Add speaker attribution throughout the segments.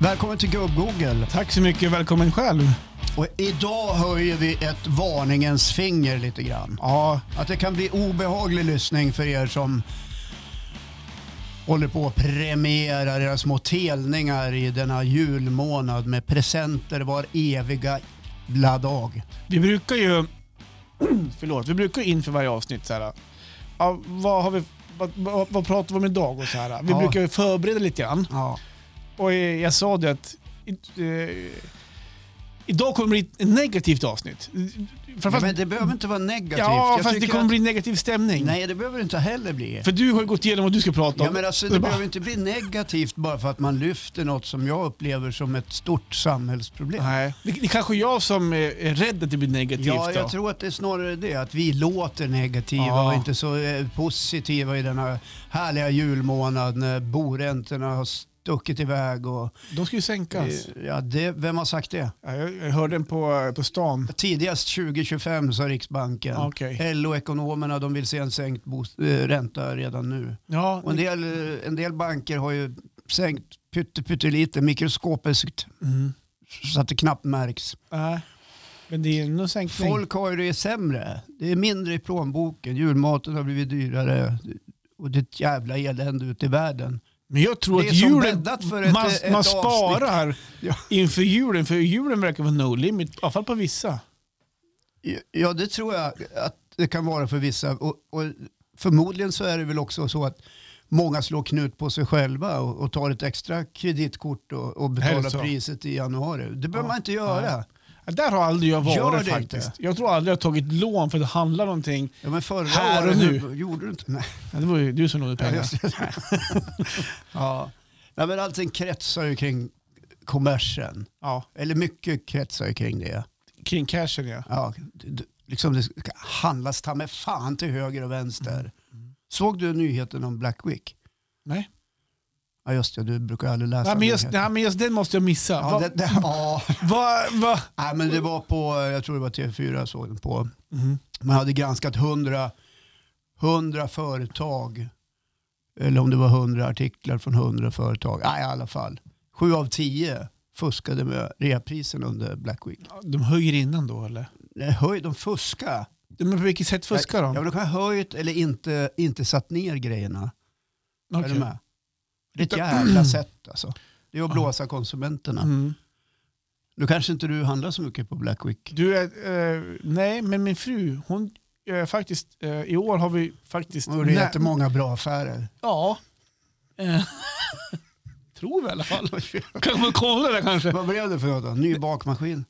Speaker 1: Välkommen till Gubb-Google.
Speaker 2: Tack så mycket, välkommen själv.
Speaker 1: Och idag höjer vi ett varningens finger lite grann.
Speaker 2: Ja,
Speaker 1: Att det kan bli obehaglig lyssning för er som håller på och premierar era små telningar i denna julmånad med presenter var eviga jävla dag.
Speaker 2: vi brukar ju... Förlåt, vi brukar ju inför varje avsnitt så här... Ja, vad, har vi, vad, vad, vad pratar vi om idag? Och så här. Vi
Speaker 1: Ja.
Speaker 2: brukar ju förbereda lite grann.
Speaker 1: Ja.
Speaker 2: Och eh, jag sa det att... i- Eh, idag kommer det bli ett negativt avsnitt. Framförallt,
Speaker 1: Men det behöver inte vara negativt.
Speaker 2: ja
Speaker 1: Jag
Speaker 2: fast det
Speaker 1: tycker
Speaker 2: kommer
Speaker 1: att-
Speaker 2: bli negativ stämning.
Speaker 1: Nej, det behöver det inte heller bli.
Speaker 2: För du har ju gått igenom vad du ska prata om.
Speaker 1: Ja, men alltså,
Speaker 2: Och
Speaker 1: det
Speaker 2: bara,
Speaker 1: behöver inte bli negativt bara för att man lyfter något som jag upplever som ett stort samhällsproblem.
Speaker 2: Nej, det, det kanske är jag som är, är rädd att det blir negativt.
Speaker 1: Ja,
Speaker 2: då.
Speaker 1: jag tror att det är snarare det, att vi låter negativa
Speaker 2: Ja.
Speaker 1: och inte så eh, positiva i denna härliga julmånad när boräntorna har stuckit iväg. Och,
Speaker 2: De ska ju sänkas.
Speaker 1: eh, ja, det, vem har sagt det?
Speaker 2: Ja, jag, jag hörde den på, på stan.
Speaker 1: Tidigast 2025 sa Riksbanken.
Speaker 2: Okej.
Speaker 1: LO-ekonomerna de vill se en sänkt bo- eh, ränta redan nu.
Speaker 2: Ja,
Speaker 1: Och en, del, eh, en del banker har ju sänkt pytte, pyttelite, mikroskopiskt,
Speaker 2: Mm.
Speaker 1: så att det knappt märks.
Speaker 2: Nej. Men det är en sänkning.
Speaker 1: Äh. Folk har ju det sämre. Det är mindre i plånboken. Julmaten har blivit dyrare. Och det är ett jävla elände ute i världen.
Speaker 2: Men jag tror
Speaker 1: Det är
Speaker 2: att
Speaker 1: som
Speaker 2: julen,
Speaker 1: bäddat för ett,
Speaker 2: man,
Speaker 1: ett
Speaker 2: man
Speaker 1: avsnitt.
Speaker 2: sparar
Speaker 1: Ja.
Speaker 2: inför julen, för julen verkar vara no limit, i alla fall på vissa.
Speaker 1: Ja, det tror jag att det kan vara för vissa. Och, och förmodligen så är det väl också så att många slår knut på sig själva och, och tar ett extra kreditkort och, och
Speaker 2: Helst
Speaker 1: betalar
Speaker 2: så.
Speaker 1: priset i januari. Det behöver
Speaker 2: Ja.
Speaker 1: man inte göra.
Speaker 2: Ja, Där har aldrig jag
Speaker 1: Gör
Speaker 2: varit
Speaker 1: det
Speaker 2: faktiskt.
Speaker 1: inte.
Speaker 2: Jag tror aldrig jag tagit lån för att handla någonting.
Speaker 1: Ja, men förra
Speaker 2: Här och
Speaker 1: året
Speaker 2: nu.
Speaker 1: gjorde du inte. Nej.
Speaker 2: Ja, det var ju du som lånade
Speaker 1: Ja,
Speaker 2: pengar.
Speaker 1: just det. ja. Nej, men allting kretsar ju kring kommersen.
Speaker 2: Ja,
Speaker 1: Eller mycket kretsar ju kring det.
Speaker 2: kring cashen ja.
Speaker 1: Ja, d- d- liksom det ska handlas ta med fan till höger och vänster.
Speaker 2: Mm.
Speaker 1: Såg du nyheten om Black Week?
Speaker 2: Nej,
Speaker 1: Ja just det, du brukar aldrig läsa
Speaker 2: nej, men just,
Speaker 1: nyheter.
Speaker 2: nej, men just den måste jag missa.
Speaker 1: Ja,
Speaker 2: va,
Speaker 1: det, det, ja.
Speaker 2: va, va?
Speaker 1: Nej, men det var på, jag tror det var TV4 jag såg den på.
Speaker 2: Mhm.
Speaker 1: Man hade granskat 100, 100 företag. Eller om det var 100 artiklar från 100 företag. Nej, i alla fall. Sju av tio fuskade med reaprisen under Black Week.
Speaker 2: De höjer innan då eller?
Speaker 1: Nej, höj, de fuskade.
Speaker 2: Ja, Men på vilket sätt fuskar
Speaker 1: Ja,
Speaker 2: de?
Speaker 1: men de kan ha höjt eller inte, inte satt ner grejerna. Är du
Speaker 2: Okej.
Speaker 1: med? Det är ett jävla sätt alltså. Det är att blåsa konsumenterna.
Speaker 2: Mm.
Speaker 1: Nu kanske inte du handlar så mycket på Black Week.
Speaker 2: Du, eh, nej, men min fru, hon eh, faktiskt, eh, i år har vi faktiskt...
Speaker 1: Och det
Speaker 2: nä-
Speaker 1: är jättemånga bra affärer.
Speaker 2: Ja. Eh, tror vi i alla fall. Kan man kolla det kanske?
Speaker 1: Vad blev det för något då? Ny bakmaskin?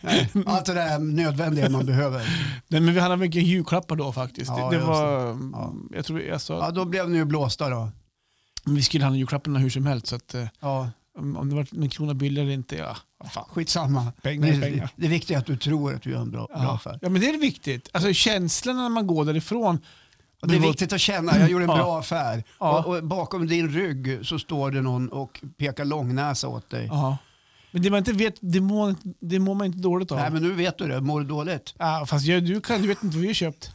Speaker 1: Nej. Nej. Allt det där nödvändiga man behöver.
Speaker 2: Nej, men vi hade mycket julklappar då faktiskt.
Speaker 1: Ja,
Speaker 2: det
Speaker 1: just
Speaker 2: var,
Speaker 1: Ja.
Speaker 2: jag tror jag sa,
Speaker 1: Ja, då blev ni ju blåsta då.
Speaker 2: vi skulle handla julklapparna hur som helst. Så att, eh,
Speaker 1: Ja,
Speaker 2: om om det var en krona billigare eller inte, ja, vad fan.
Speaker 1: skitsamma.
Speaker 2: Pengar är
Speaker 1: Men det,
Speaker 2: pengar.
Speaker 1: Det viktiga är att du tror att du gör en bra, bra
Speaker 2: Ja.
Speaker 1: affär.
Speaker 2: ja, men det är viktigt. Alltså känslan när man går därifrån.
Speaker 1: Och det är
Speaker 2: Men vad-
Speaker 1: viktigt att känna, jag gjorde en
Speaker 2: Ja.
Speaker 1: bra affär.
Speaker 2: Ja.
Speaker 1: Och, och bakom din rygg så står det någon och pekar långnäsa åt dig.
Speaker 2: Ja. Men det man inte vet, det mår, det mår man inte dåligt av.
Speaker 1: Nej men nu vet du det, mår du dåligt?
Speaker 2: Ja, fast jag, du, kan, du vet inte vad vi har köpt.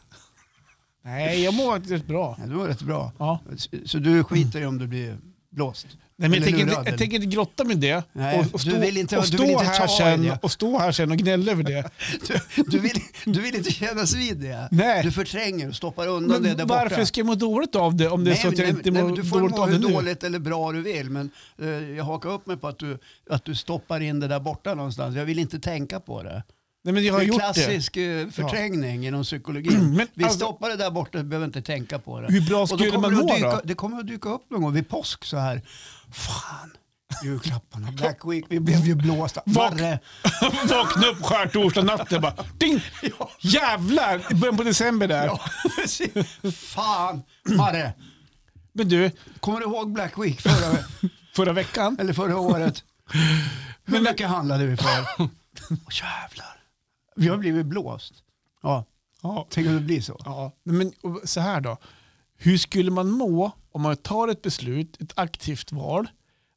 Speaker 2: Nej, jag mår rätt bra.
Speaker 1: Ja, det var rätt bra.
Speaker 2: Ja.
Speaker 1: Så, så du skiter i om du blir blåst?
Speaker 2: Nej, men
Speaker 1: Eller
Speaker 2: jag, tänker
Speaker 1: lurad,
Speaker 2: inte,
Speaker 1: eller?
Speaker 2: jag tänker inte grotta med det.
Speaker 1: Nej,
Speaker 2: och, och
Speaker 1: du
Speaker 2: stå,
Speaker 1: vill inte-
Speaker 2: och
Speaker 1: du
Speaker 2: stå
Speaker 1: vill inte ta
Speaker 2: här
Speaker 1: i
Speaker 2: sen,
Speaker 1: det.
Speaker 2: och stå här sen och gnälla över det.
Speaker 1: Du, du, vill, du vill inte kännas vid det?
Speaker 2: Nej.
Speaker 1: Du förtränger och stoppar undan det där
Speaker 2: Men
Speaker 1: borta?
Speaker 2: varför ska jag må dåligt av det om det är så att jag inte mår
Speaker 1: nej, men Du får
Speaker 2: dåligt
Speaker 1: må
Speaker 2: av
Speaker 1: hur
Speaker 2: det nu?
Speaker 1: dåligt eller bra du vill men eh, jag hakar upp mig på att du, att du stoppar in det där borta någonstans. Jag vill inte tänka på det.
Speaker 2: Nej, men jag
Speaker 1: Det
Speaker 2: har
Speaker 1: är
Speaker 2: gjort det.
Speaker 1: klassisk eh, förträngning inom psykologin.
Speaker 2: Men
Speaker 1: vi
Speaker 2: alltså-
Speaker 1: stoppar det där borta, vi behöver inte tänka på det.
Speaker 2: Hur bra
Speaker 1: Och då
Speaker 2: skulle
Speaker 1: kommer
Speaker 2: man
Speaker 1: det att
Speaker 2: må
Speaker 1: dyka,
Speaker 2: då?
Speaker 1: Det kommer att dyka upp någon gång vid påsk så här. Fan, julklapparna, Black Week, vi blev ju blåsta.
Speaker 2: Vak-
Speaker 1: Marre,
Speaker 2: Vakna upp skärtorsdag natten bara. Ding!
Speaker 1: Ja.
Speaker 2: Jävlar! I början på december där.
Speaker 1: ja, precis. Fan, Marre.
Speaker 2: Men du,
Speaker 1: Kommer du ihåg Black Week förra,
Speaker 2: förra veckan.
Speaker 1: eller förra året? Hur mycket handlade vi för? Åh jävlar, vi har blivit blåst. Ja,
Speaker 2: Ja.
Speaker 1: tänk om det blir så.
Speaker 2: Ja, men och så här då. Hur skulle man må om man tar ett beslut, ett aktivt val,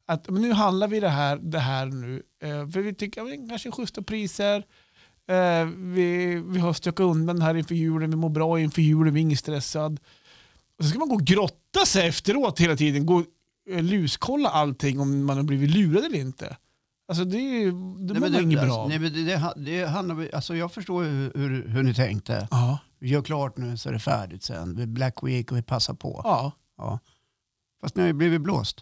Speaker 2: att men nu handlar vi det här, det här nu, eh, för vi tycker att det är kanske är schyssta priser, eh, vi, vi har stökat undan här inför julen, vi mår bra inför julen, vi är ingen stressad. Och så ska man gå och grotta sig efteråt hela tiden, gå och eh, luskolla allting om man har blivit lurad eller inte. Alltså det, är ju- det mår man inget bra av.
Speaker 1: Nej, men det, det, det handlar, väl- alltså jag förstår hur, hur, hur ni tänkte.
Speaker 2: Ja,
Speaker 1: Vi gör klart nu så är det färdigt sen. Det är Black Week och vi passar på.
Speaker 2: ja.
Speaker 1: Ja. Fast ni har ju blivit blåst.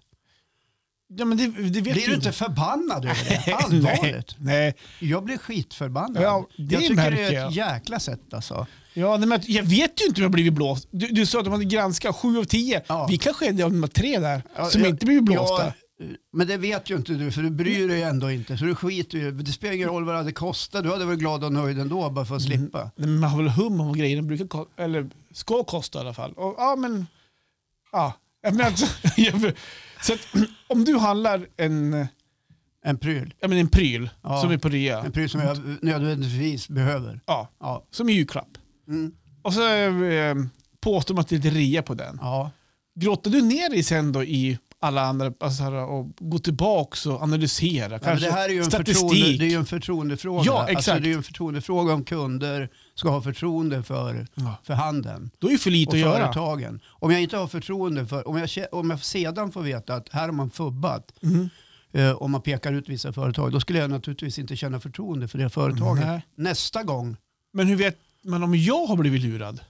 Speaker 2: ja men det, det vet
Speaker 1: Blir
Speaker 2: ju-
Speaker 1: du inte förbannad över det?
Speaker 2: Nej,
Speaker 1: Allvarligt.
Speaker 2: nej.
Speaker 1: Jag blir skitförbannad.
Speaker 2: Ja, det
Speaker 1: jag tycker det
Speaker 2: märker
Speaker 1: är
Speaker 2: jag.
Speaker 1: ett jäkla sätt alltså.
Speaker 2: Ja, nej, men att- jag vet ju inte om jag blivit blåst. Du, du sa att de hade granskat sju av tio.
Speaker 1: Ja.
Speaker 2: Vi kanske är de tre där
Speaker 1: Ja,
Speaker 2: som
Speaker 1: jag-
Speaker 2: inte blivit blåsta.
Speaker 1: Ja, men det vet ju inte du, för du bryr dig ändå inte. Så du skiter ju. Det spelar ingen roll vad det kostar. Du hade varit glad och nöjd ändå bara för att
Speaker 2: Mm.
Speaker 1: slippa.
Speaker 2: Nej, men man har väl hum om vad grejerna brukar ko- eller ska kosta i alla fall. Och, ja, men... Ja. Jag menar, alltså, jag- så att, om du handlar en,
Speaker 1: En pryl.
Speaker 2: jag menar, en pryl
Speaker 1: Ja.
Speaker 2: som är på rea,
Speaker 1: En pryl som jag nödvändigtvis behöver.
Speaker 2: ja,
Speaker 1: Ja.
Speaker 2: som är julklapp,
Speaker 1: Mm.
Speaker 2: och så eh, påstår man att det är lite rea på den.
Speaker 1: ja.
Speaker 2: Grottar du ner dig sen då i alla andra alltså, här, och går tillbaka och analysera?
Speaker 1: Ja, men
Speaker 2: kanske
Speaker 1: det här är ju en, förtroende,
Speaker 2: statistik.
Speaker 1: det är ju en förtroendefråga.
Speaker 2: Ja,
Speaker 1: Alltså,
Speaker 2: exakt.
Speaker 1: det är ju en förtroendefråga om kunder ska ha förtroende för,
Speaker 2: Ja.
Speaker 1: för handeln
Speaker 2: Då är ju för lite
Speaker 1: och
Speaker 2: att göra.
Speaker 1: företagen. Om jag inte har förtroende för, om jag, kä- om jag sedan får veta att här har man fubbat,
Speaker 2: Mm.
Speaker 1: eh, om man pekar ut vissa företag, då skulle jag naturligtvis inte känna förtroende för det företaget.
Speaker 2: Nej.
Speaker 1: Nästa gång,
Speaker 2: Men hur vet man om jag har blivit lurad?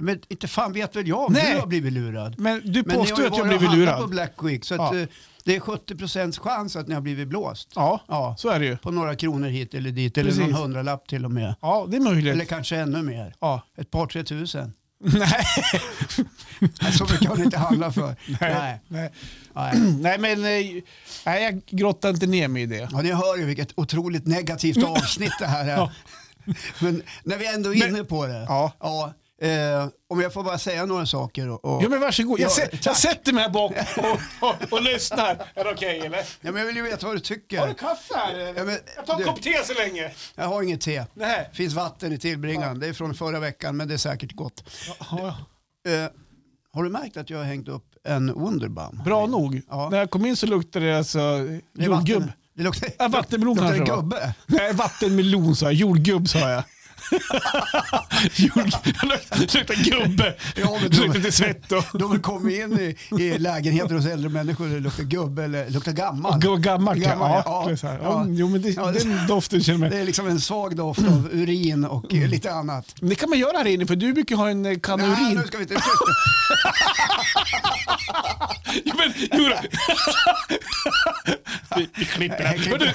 Speaker 1: men inte fan vet väl jag om
Speaker 2: Nej.
Speaker 1: du har blivit lurad.
Speaker 2: Men du
Speaker 1: Men ni
Speaker 2: påstår
Speaker 1: ju
Speaker 2: ju att jag
Speaker 1: varit
Speaker 2: har
Speaker 1: och
Speaker 2: blivit
Speaker 1: handlat
Speaker 2: lurad.
Speaker 1: på Black Week, så att,
Speaker 2: Ja.
Speaker 1: eh, det är 70% chans att ni har blivit blåst.
Speaker 2: Ja,
Speaker 1: Ja,
Speaker 2: så är det ju.
Speaker 1: på några kronor hit eller dit, eller
Speaker 2: Precis.
Speaker 1: någon hundralapp till och med.
Speaker 2: Ja, det är möjligt.
Speaker 1: Eller kanske ännu mer.
Speaker 2: Ja.
Speaker 1: Ett par, tre tusen.
Speaker 2: Nej.
Speaker 1: Nej, Så mycket har ni inte handlat för.
Speaker 2: Nej.
Speaker 1: Nej.
Speaker 2: Nej.
Speaker 1: Nej.
Speaker 2: Nej, men eh, nej, jag grottar inte ner mig i det.
Speaker 1: Ja, ni hör ju vilket otroligt negativt avsnitt det här är.
Speaker 2: Ja.
Speaker 1: Men när vi ändå är inne på det.
Speaker 2: Ja.
Speaker 1: Ja, eh, om jag får bara säga några saker. Och, och,
Speaker 2: Ja, men varsågod. Jag,
Speaker 1: Ja,
Speaker 2: sä- jag
Speaker 1: tack.
Speaker 2: sätter mig här bak och, och, och lyssnar. Är det okej eller?
Speaker 1: ja, men jag vill ju veta vad du
Speaker 2: Har du
Speaker 1: tycker.
Speaker 2: kaffe här?
Speaker 1: Ja, men,
Speaker 2: jag tar en
Speaker 1: du-
Speaker 2: kopp te så länge.
Speaker 1: Jag har inget te.
Speaker 2: Nej.
Speaker 1: Det finns vatten i tillbringaren. Det är från förra veckan, men det är säkert gott.
Speaker 2: Ja,
Speaker 1: Eh, har du märkt att jag har hängt upp en Wunderbaum?
Speaker 2: bra nog.
Speaker 1: Ja.
Speaker 2: När jag kom in så luktade det alltså
Speaker 1: Det är vatten-
Speaker 2: jordgubb.
Speaker 1: Det luktar,
Speaker 2: Ja, vattenmelon
Speaker 1: luktar
Speaker 2: kanske det var.
Speaker 1: gubbe.
Speaker 2: Nej, vattenmelon sa jag. Jordgubb sa jag. Jord, jag luktar- luktar gubbe.
Speaker 1: Ja, men
Speaker 2: Det
Speaker 1: de-
Speaker 2: luktar lite svett och
Speaker 1: De har kommit in i, i lägenheter hos äldre människor och det luktar gubbe eller luktar gammal.
Speaker 2: Gammal, gammal ja.
Speaker 1: Gammal, ja.
Speaker 2: ja. det är så här.
Speaker 1: Ja.
Speaker 2: Mm, Jo, men det,
Speaker 1: Ja, det-
Speaker 2: den doften känner
Speaker 1: Det
Speaker 2: jag.
Speaker 1: är liksom en svag doft av urin och
Speaker 2: Mm.
Speaker 1: eh, lite annat.
Speaker 2: Men Det kan man göra här inne, för du brukar ha en eh, kanna
Speaker 1: Nej,
Speaker 2: urin.
Speaker 1: nu ska vi inte...
Speaker 2: Jo, men, jo, då. vi, vi klipper det här.
Speaker 1: Nej,
Speaker 2: Hördu,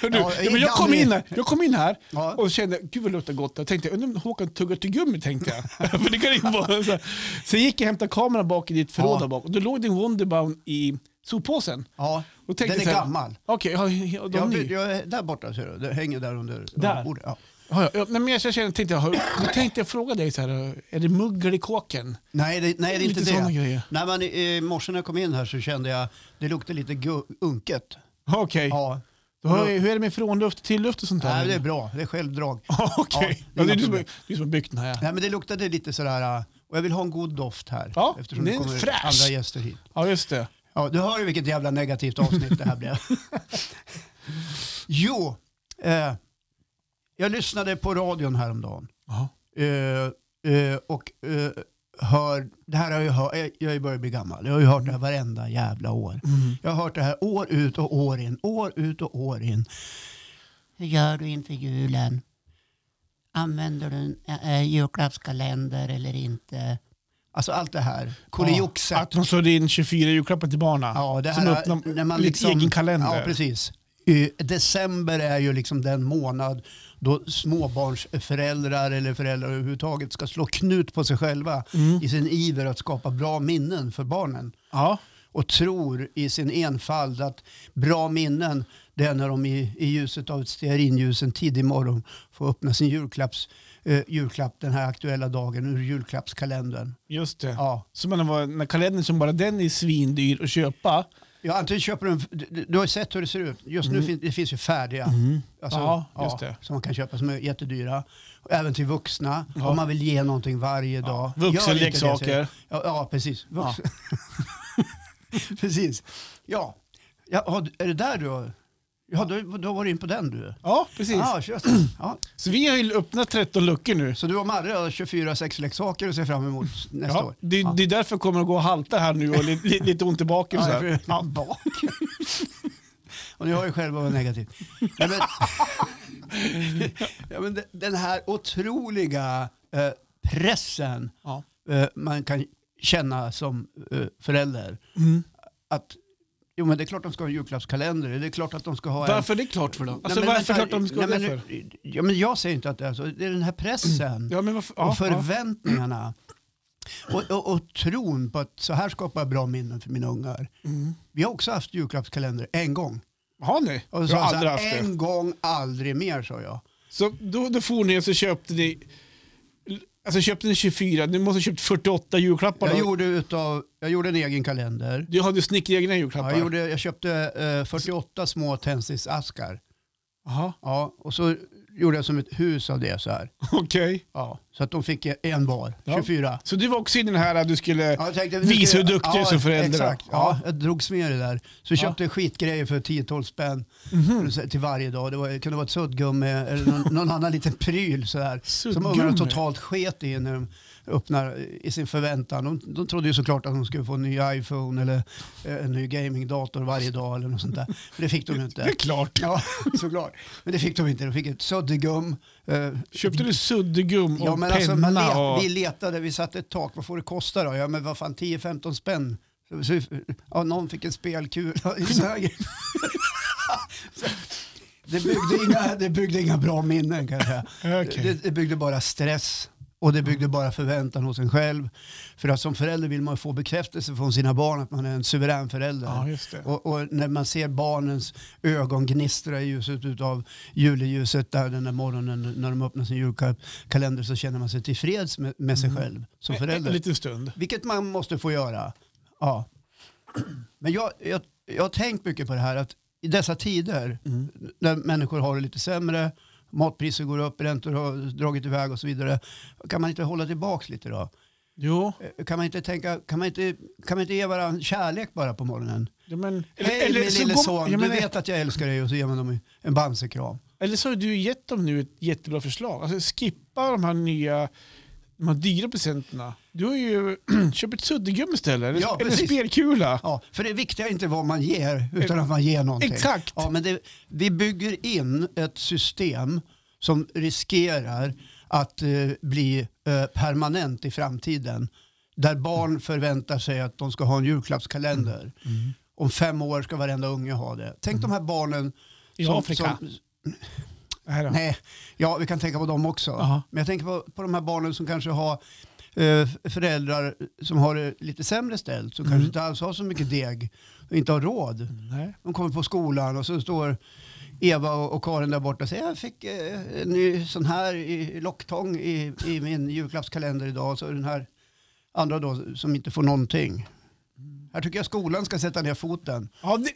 Speaker 2: hördu,
Speaker 1: Ja,
Speaker 2: ja, men jag, kom in här, jag kom in här
Speaker 1: Ja.
Speaker 2: och kände, gud vad det luktar gott. Jag tänkte, undrar om Håkan tuggar tuggummi, tänkte jag. för det kan inte vara så här. Sen gick jag och hämtade kameran bak i ditt förråd
Speaker 1: Ja.
Speaker 2: där bak och då låg din Wonderbound i soppåsen.
Speaker 1: Ja, den
Speaker 2: Och tänkte
Speaker 1: är
Speaker 2: så här,
Speaker 1: gammal.
Speaker 2: Okej, ja, ja, de är
Speaker 1: Jag,
Speaker 2: ny.
Speaker 1: jag, är där borta ser du, det hänger där under
Speaker 2: Där.
Speaker 1: under bordet. Ja.
Speaker 2: Ja, ja, ja, nej, men jag känner, tänkte, jag, nu tänkte jag fråga dig, så här, är det muggel i kåken?
Speaker 1: Nej, det, nej, det är
Speaker 2: Lite
Speaker 1: inte
Speaker 2: sådana
Speaker 1: det.
Speaker 2: grejer.
Speaker 1: Nej, men i i morse när jag kom in här så kände jag, det luktade lite gu- unket.
Speaker 2: Okej.
Speaker 1: Ja.
Speaker 2: Då har vi- Hur är det med frånluft, tilluft och sånt där?
Speaker 1: Nej, det är bra, det är självdrag.
Speaker 2: Okej.
Speaker 1: Ja,
Speaker 2: Ja, det är
Speaker 1: inga
Speaker 2: du som,
Speaker 1: problem.
Speaker 2: du som har byggt den här.
Speaker 1: Nej, men det luktade lite sådär, äh, och jag vill ha en god doft här.
Speaker 2: Ja,
Speaker 1: eftersom
Speaker 2: det
Speaker 1: det
Speaker 2: är
Speaker 1: kommer
Speaker 2: fräsch.
Speaker 1: andra gäster hit.
Speaker 2: Ja, just det.
Speaker 1: Ja, du hör ju vilket jävla negativt avsnitt det här blev. jo, eh, jag lyssnade på radion häromdagen.
Speaker 2: Ja.
Speaker 1: Eh, eh, och eh, hör, det här har jag, hört, jag- jag börjar bli gammal. Jag har ju hört det här varenda jävla år. Jag har hört det här år ut och år in. År ut och år in. Hur gör du inför julen? Använder du en äh, julklappskalender eller inte? Alltså allt det här. Kolioxen.
Speaker 2: Att de slår in 24 julklappar till barnen.
Speaker 1: Ja, det
Speaker 2: som
Speaker 1: här,
Speaker 2: öppnar
Speaker 1: när man
Speaker 2: lite
Speaker 1: liksom,
Speaker 2: egen kalender.
Speaker 1: Ja, precis. I December är ju liksom den månad då småbarnsföräldrar eller föräldrar överhuvudtaget ska slå knut på sig själva
Speaker 2: Mm.
Speaker 1: i sin iver att skapa bra minnen för barnen.
Speaker 2: Ja.
Speaker 1: Och tror i sin enfald att bra minnen det är när de i, i ljuset av stearinljus en tidig morgon får öppna sin julklapps, eh, julklapp den här aktuella dagen ur julklappskalendern.
Speaker 2: just det.
Speaker 1: Ja.
Speaker 2: Så man var, när kalendern som bara den är svindyr att köpa.
Speaker 1: Ja, antingen köper du, en, du, du har ju sett hur det ser ut. Just nu finns det finns ju färdiga. Alltså,
Speaker 2: Mm. Ja, just det.
Speaker 1: Som man kan köpa som är jättedyra. Och Även till vuxna.
Speaker 2: Ja.
Speaker 1: Om man vill ge någonting varje dag. Gör inte det,
Speaker 2: vuxenleksaker.
Speaker 1: säger jag. Ja, ja, precis.
Speaker 2: Ja.
Speaker 1: Vux- precis. Ja. ja, har du- är det där du har Ja, då, då var du in på den du.
Speaker 2: Ja, precis.
Speaker 1: Ja, just det. ja.
Speaker 2: Så vi har ju öppnat 13 luckor nu.
Speaker 1: Så du och Marre har 24 sexleksaker att se fram emot nästa
Speaker 2: Ja,
Speaker 1: år?
Speaker 2: det,
Speaker 1: ja.
Speaker 2: det är därför jag kommer att gå och halta här nu och lite, lite- lite ont i baken.
Speaker 1: Ja,
Speaker 2: så här.
Speaker 1: för- ja, bak. och ni har ju själva varit negativt. Ja, men, ja, men de- den här otroliga eh, pressen
Speaker 2: Ja.
Speaker 1: eh, man kan känna som eh, förälder.
Speaker 2: Mm.
Speaker 1: Att, jo men det är klart de ska ha en julklappskalender. Det är klart att de ska ha en...
Speaker 2: Varför är det klart för då? Alltså,
Speaker 1: Nej, men
Speaker 2: varför
Speaker 1: vänta,
Speaker 2: klart de ska
Speaker 1: nej,
Speaker 2: det
Speaker 1: men-
Speaker 2: för?
Speaker 1: Ja, men jag säger inte att det är så. Det är den här pressen
Speaker 2: Ja, men varför?
Speaker 1: och
Speaker 2: Ja, ja.
Speaker 1: förväntningarna. Och, och, och tron på att så här skapar jag bra minnen för mina ungar.
Speaker 2: Mm.
Speaker 1: Vi har också haft julklappskalender en gång.
Speaker 2: Har ni?
Speaker 1: Och så
Speaker 2: jag
Speaker 1: sa
Speaker 2: har
Speaker 1: han så
Speaker 2: aldrig
Speaker 1: här, "Äh,
Speaker 2: haft det.
Speaker 1: En gång, aldrig mer sa jag.
Speaker 2: Så då, då for ni och så köpte ni, alltså köpte ni 24, ni måste ha köpt 48 julklappar.
Speaker 1: Jag
Speaker 2: då.
Speaker 1: gjorde, utav, jag gjorde en egen kalender.
Speaker 2: Du hade snickrat egna
Speaker 1: Ja,
Speaker 2: julklappar?
Speaker 1: jag, gjorde, jag köpte eh, 48 små tändsticksaskar.
Speaker 2: Jaha,
Speaker 1: Ja, och så gjorde jag som ett hus av det så här.
Speaker 2: okej.
Speaker 1: Ja, så att de fick en var,
Speaker 2: Ja.
Speaker 1: 24.
Speaker 2: Så du var också i den här att du skulle,
Speaker 1: Ja, jag tänkte, nu ska
Speaker 2: Visa hur
Speaker 1: jag-
Speaker 2: duktig du är som förälder.
Speaker 1: Exakt. Ja, jag drogs med i det där. Så jag
Speaker 2: Ja. Mhm.
Speaker 1: köpte skitgrejer för 10-12 spänn så- till varje dag. Det, var, det kunde vara ett suddgummi eller någon, någon annan liten pryl sådär. Som ungarna
Speaker 2: Suddgummi?
Speaker 1: totalt sket i när de öppnar i sin förväntan. De, de trodde ju såklart att de skulle få en ny iPhone eller eh, en ny gamingdator varje dag eller något sånt där. Men det fick de ju
Speaker 2: det
Speaker 1: inte.
Speaker 2: är klart.
Speaker 1: Ja, såklart. Men det fick de inte. De fick ett suddgum. Eh,
Speaker 2: Köpte du suddgum och
Speaker 1: Ja, men alltså,
Speaker 2: penna?
Speaker 1: man let,
Speaker 2: och...
Speaker 1: Vi letade, vi satte ett tak. Vad får det kosta då? Ja, men vad fan, 10-15 spänn. Så, så, ja, någon fick en spelkula. Så här. Så, det, byggde inga, det byggde inga bra minnen kan jag säga.
Speaker 2: Okej.
Speaker 1: Det, det byggde bara stress. Och det byggde bara förväntan hos en själv. För att som förälder vill man få bekräftelse från sina barn att man är en suverän förälder.
Speaker 2: Ja, just det.
Speaker 1: Och, och när man ser barnens ögon gnistra i ljuset av juleljuset där den där morgonen när de öppnar sin julkalender så känner man sig tillfreds med, med sig själv som
Speaker 2: En, en
Speaker 1: förälder.
Speaker 2: liten stund.
Speaker 1: Vilket man måste få göra. Ja. Men jag, jag, jag har tänkt mycket på det här att i dessa tider när människor har det lite sämre, matpriser går upp, räntor har dragit iväg och så vidare. Kan man inte hålla tillbaka lite då?
Speaker 2: Jo,
Speaker 1: Eh, Kan man inte, tänka, kan man inte, kan man inte ge varandra kärlek bara på morgonen?
Speaker 2: ja, men,
Speaker 1: Hej min
Speaker 2: så
Speaker 1: lille
Speaker 2: går-
Speaker 1: son,
Speaker 2: ja,
Speaker 1: du
Speaker 2: men-
Speaker 1: vet att jag älskar dig och så ger man dem en bamsekram.
Speaker 2: Eller så har du gett dem nu ett jättebra förslag. Alltså skippa de här nya, de här dyra presenterna. Du har ju köpt ett suddgum istället, eller,
Speaker 1: Ja,
Speaker 2: eller en
Speaker 1: precis.
Speaker 2: spelkula.
Speaker 1: Ja, för det viktiga är inte vad man ger utan att man ger någonting.
Speaker 2: Eh, Exakt.
Speaker 1: Ja, men det, vi bygger in ett system som riskerar att eh, bli eh, permanent i framtiden. Där barn förväntar sig att de ska ha en julklappskalender.
Speaker 2: Mm.
Speaker 1: Om fem år ska varenda unge ha det. Tänk de här barnen
Speaker 2: I Afrika.
Speaker 1: som,
Speaker 2: Nej då.
Speaker 1: Nej, ja vi kan tänka på dem också.
Speaker 2: Aha.
Speaker 1: Men jag tänker på, på de här barnen som kanske har eh, föräldrar som har det lite sämre ställt, som kanske inte alls har så mycket deg och inte har råd.
Speaker 2: Nej.
Speaker 1: De kommer på skolan och så står Eva och, och Karin där borta och säger jag fick eh, en ny sån här i, locktång i, i min julklappskalender idag. Så är den här andra då som inte får någonting. Här tycker jag skolan ska sätta ner foten.
Speaker 2: Ja, det,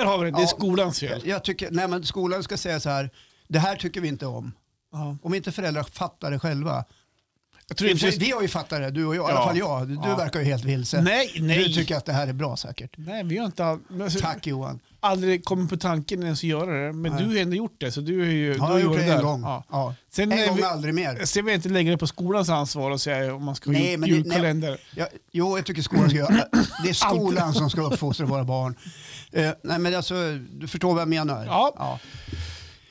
Speaker 2: där har vi det. Det är
Speaker 1: Ja.
Speaker 2: skolans fel.
Speaker 1: Jag tycker, nej men skolan ska säga så här, det här tycker vi inte om.
Speaker 2: Ja.
Speaker 1: Om inte föräldrar fattar det själva.
Speaker 2: Jag tror inte
Speaker 1: Vi har ju fattat det, du och jag. I
Speaker 2: Ja.
Speaker 1: alla fall jag. Du
Speaker 2: Ja.
Speaker 1: verkar ju helt vilse.
Speaker 2: Nej,
Speaker 1: Du
Speaker 2: nej.
Speaker 1: tycker att det här är bra säkert.
Speaker 2: Nej, vi har inte all... men alltså,
Speaker 1: Tack Johan.
Speaker 2: aldrig kommit på tanken ens att göra det. Men
Speaker 1: Nej.
Speaker 2: du har ju ändå gjort det, så du är ju...
Speaker 1: Ja,
Speaker 2: du
Speaker 1: jag har
Speaker 2: är
Speaker 1: gjort
Speaker 2: ju
Speaker 1: det en
Speaker 2: där.
Speaker 1: gång.
Speaker 2: Ja.
Speaker 1: Ja.
Speaker 2: Sen
Speaker 1: En
Speaker 2: är
Speaker 1: gång
Speaker 2: vi-
Speaker 1: aldrig mer.
Speaker 2: Sen vill jag inte lägga det på skolans ansvar och säga om man ska ha
Speaker 1: Nej,
Speaker 2: jul-
Speaker 1: men det- nej.
Speaker 2: julkalender.
Speaker 1: Ja, jo, jag tycker skolan ska göra det. är skolan som ska uppfostra våra barn. Eh, nej, men alltså, du förstår vad jag menar.
Speaker 2: Ja.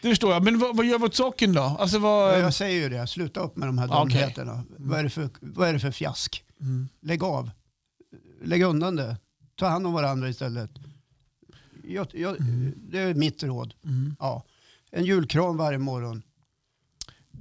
Speaker 2: Det förstår jag. Men vad, vad gör vi åt saken då? Alltså vad...
Speaker 1: Jag säger ju det, sluta upp med de här
Speaker 2: Ja, okej.
Speaker 1: dumheterna. Vad, är det för, vad är det för fjask?
Speaker 2: Mm.
Speaker 1: Lägg av. Lägg undan det. Ta hand om varandra istället. Jag, jag, det är mitt råd.
Speaker 2: Mm.
Speaker 1: Ja. En julkram varje morgon.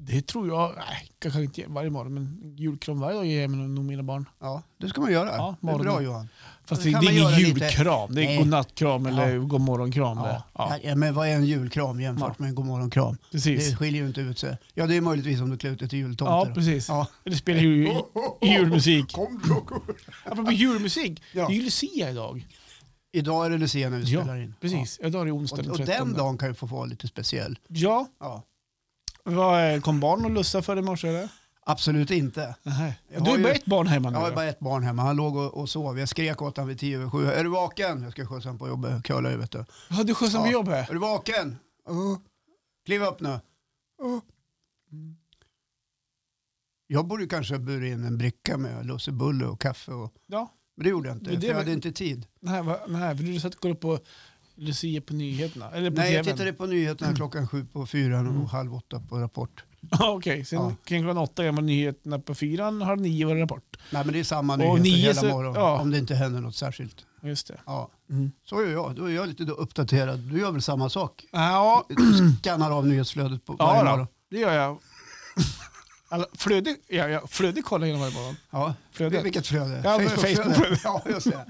Speaker 2: Det tror jag, nej, kanske inte varje morgon, men julkram varje dag ger jag nog mina barn.
Speaker 1: Ja, det ska man göra.
Speaker 2: Ja,
Speaker 1: det är bra
Speaker 2: morgonen.
Speaker 1: Johan.
Speaker 2: Fast
Speaker 1: Då
Speaker 2: det,
Speaker 1: kan
Speaker 2: det
Speaker 1: man
Speaker 2: är ingen
Speaker 1: göra lite-
Speaker 2: julkram, det är
Speaker 1: Nej.
Speaker 2: godnattkram eller godmorgonkram.
Speaker 1: Ja.
Speaker 2: det. Ja,
Speaker 1: Ja, men vad är en julkram jämfört
Speaker 2: Ja.
Speaker 1: med en godmorgonkram?
Speaker 2: preklär
Speaker 1: Det skiljer ju inte ut sig. Ja, det är möjligtvis om du klär ut dig till jultomte.
Speaker 2: Ja,
Speaker 1: då.
Speaker 2: precis.
Speaker 1: typ. Ja.
Speaker 2: Eller spelar ju
Speaker 1: Oh,
Speaker 2: julmusik.
Speaker 1: Kom, kom, kom.
Speaker 2: Apropå julmusik,
Speaker 1: Ja.
Speaker 2: det är ju Lucia idag.
Speaker 1: Idag är det Lucia när vi
Speaker 2: Ja,
Speaker 1: spelar in.
Speaker 2: Precis, idag är det
Speaker 1: Ja.
Speaker 2: onsdag
Speaker 1: Och, och den dagen kan ju få vara lite speciell.
Speaker 2: Ja,
Speaker 1: Ja.
Speaker 2: vad, eh, kom barn och lussa för i morse eller?
Speaker 1: Absolut inte.
Speaker 2: Nej.
Speaker 1: Jag
Speaker 2: Du
Speaker 1: har
Speaker 2: är
Speaker 1: ju-
Speaker 2: bara ett barn hemma nu.
Speaker 1: Jag har
Speaker 2: då.
Speaker 1: bara ett barn hemma. Han låg och, och sov. Jag skrek åt honom vid tio över sju. Är du vaken? Jag ska skjutsa honom på jobbet. Curla vet du.
Speaker 2: Ja, du skjutsar på
Speaker 1: Ja.
Speaker 2: jobbet?
Speaker 1: Är du vaken? Ja. Kliv upp nu. Ja. Jag borde kanske ha burit in en bricka med lussebulle och kaffe. Och,
Speaker 2: Ja.
Speaker 1: men det gjorde jag inte.
Speaker 2: Men det
Speaker 1: för jag
Speaker 2: var-
Speaker 1: hade inte tid.
Speaker 2: Nej, va, nej, för du satt och kollade på Lucia på nyheterna. Eller på
Speaker 1: Nej, jag
Speaker 2: TV:n. Mm.
Speaker 1: tittade på nyheterna klockan sju på fyran och halv åtta på Rapport.
Speaker 2: Ja, Okej, sen
Speaker 1: Ja.
Speaker 2: kring klockan åtta är man nyheterna på fyran, halv nio var det Rapport.
Speaker 1: Nej, men det är samma
Speaker 2: Och
Speaker 1: nyheter
Speaker 2: nio
Speaker 1: hela
Speaker 2: så-
Speaker 1: morgonen.
Speaker 2: ja.
Speaker 1: Om det inte händer något särskilt.
Speaker 2: Just det.
Speaker 1: Ja.
Speaker 2: Mm.
Speaker 1: Så gör jag. Då är jag lite då uppdaterad. Du gör väl samma sak?
Speaker 2: Ja,
Speaker 1: Skannar av nyhetsflödet på varje
Speaker 2: ja
Speaker 1: morgon.
Speaker 2: då, det gör jag. Alla, flöde, ja, ja, flöde kollar jag varje morgon.
Speaker 1: Ja.
Speaker 2: Flödet.
Speaker 1: Vilket flöde?
Speaker 2: Ja, men
Speaker 1: Facebookflöde.
Speaker 2: Facebook-flöde.
Speaker 1: ja, just det.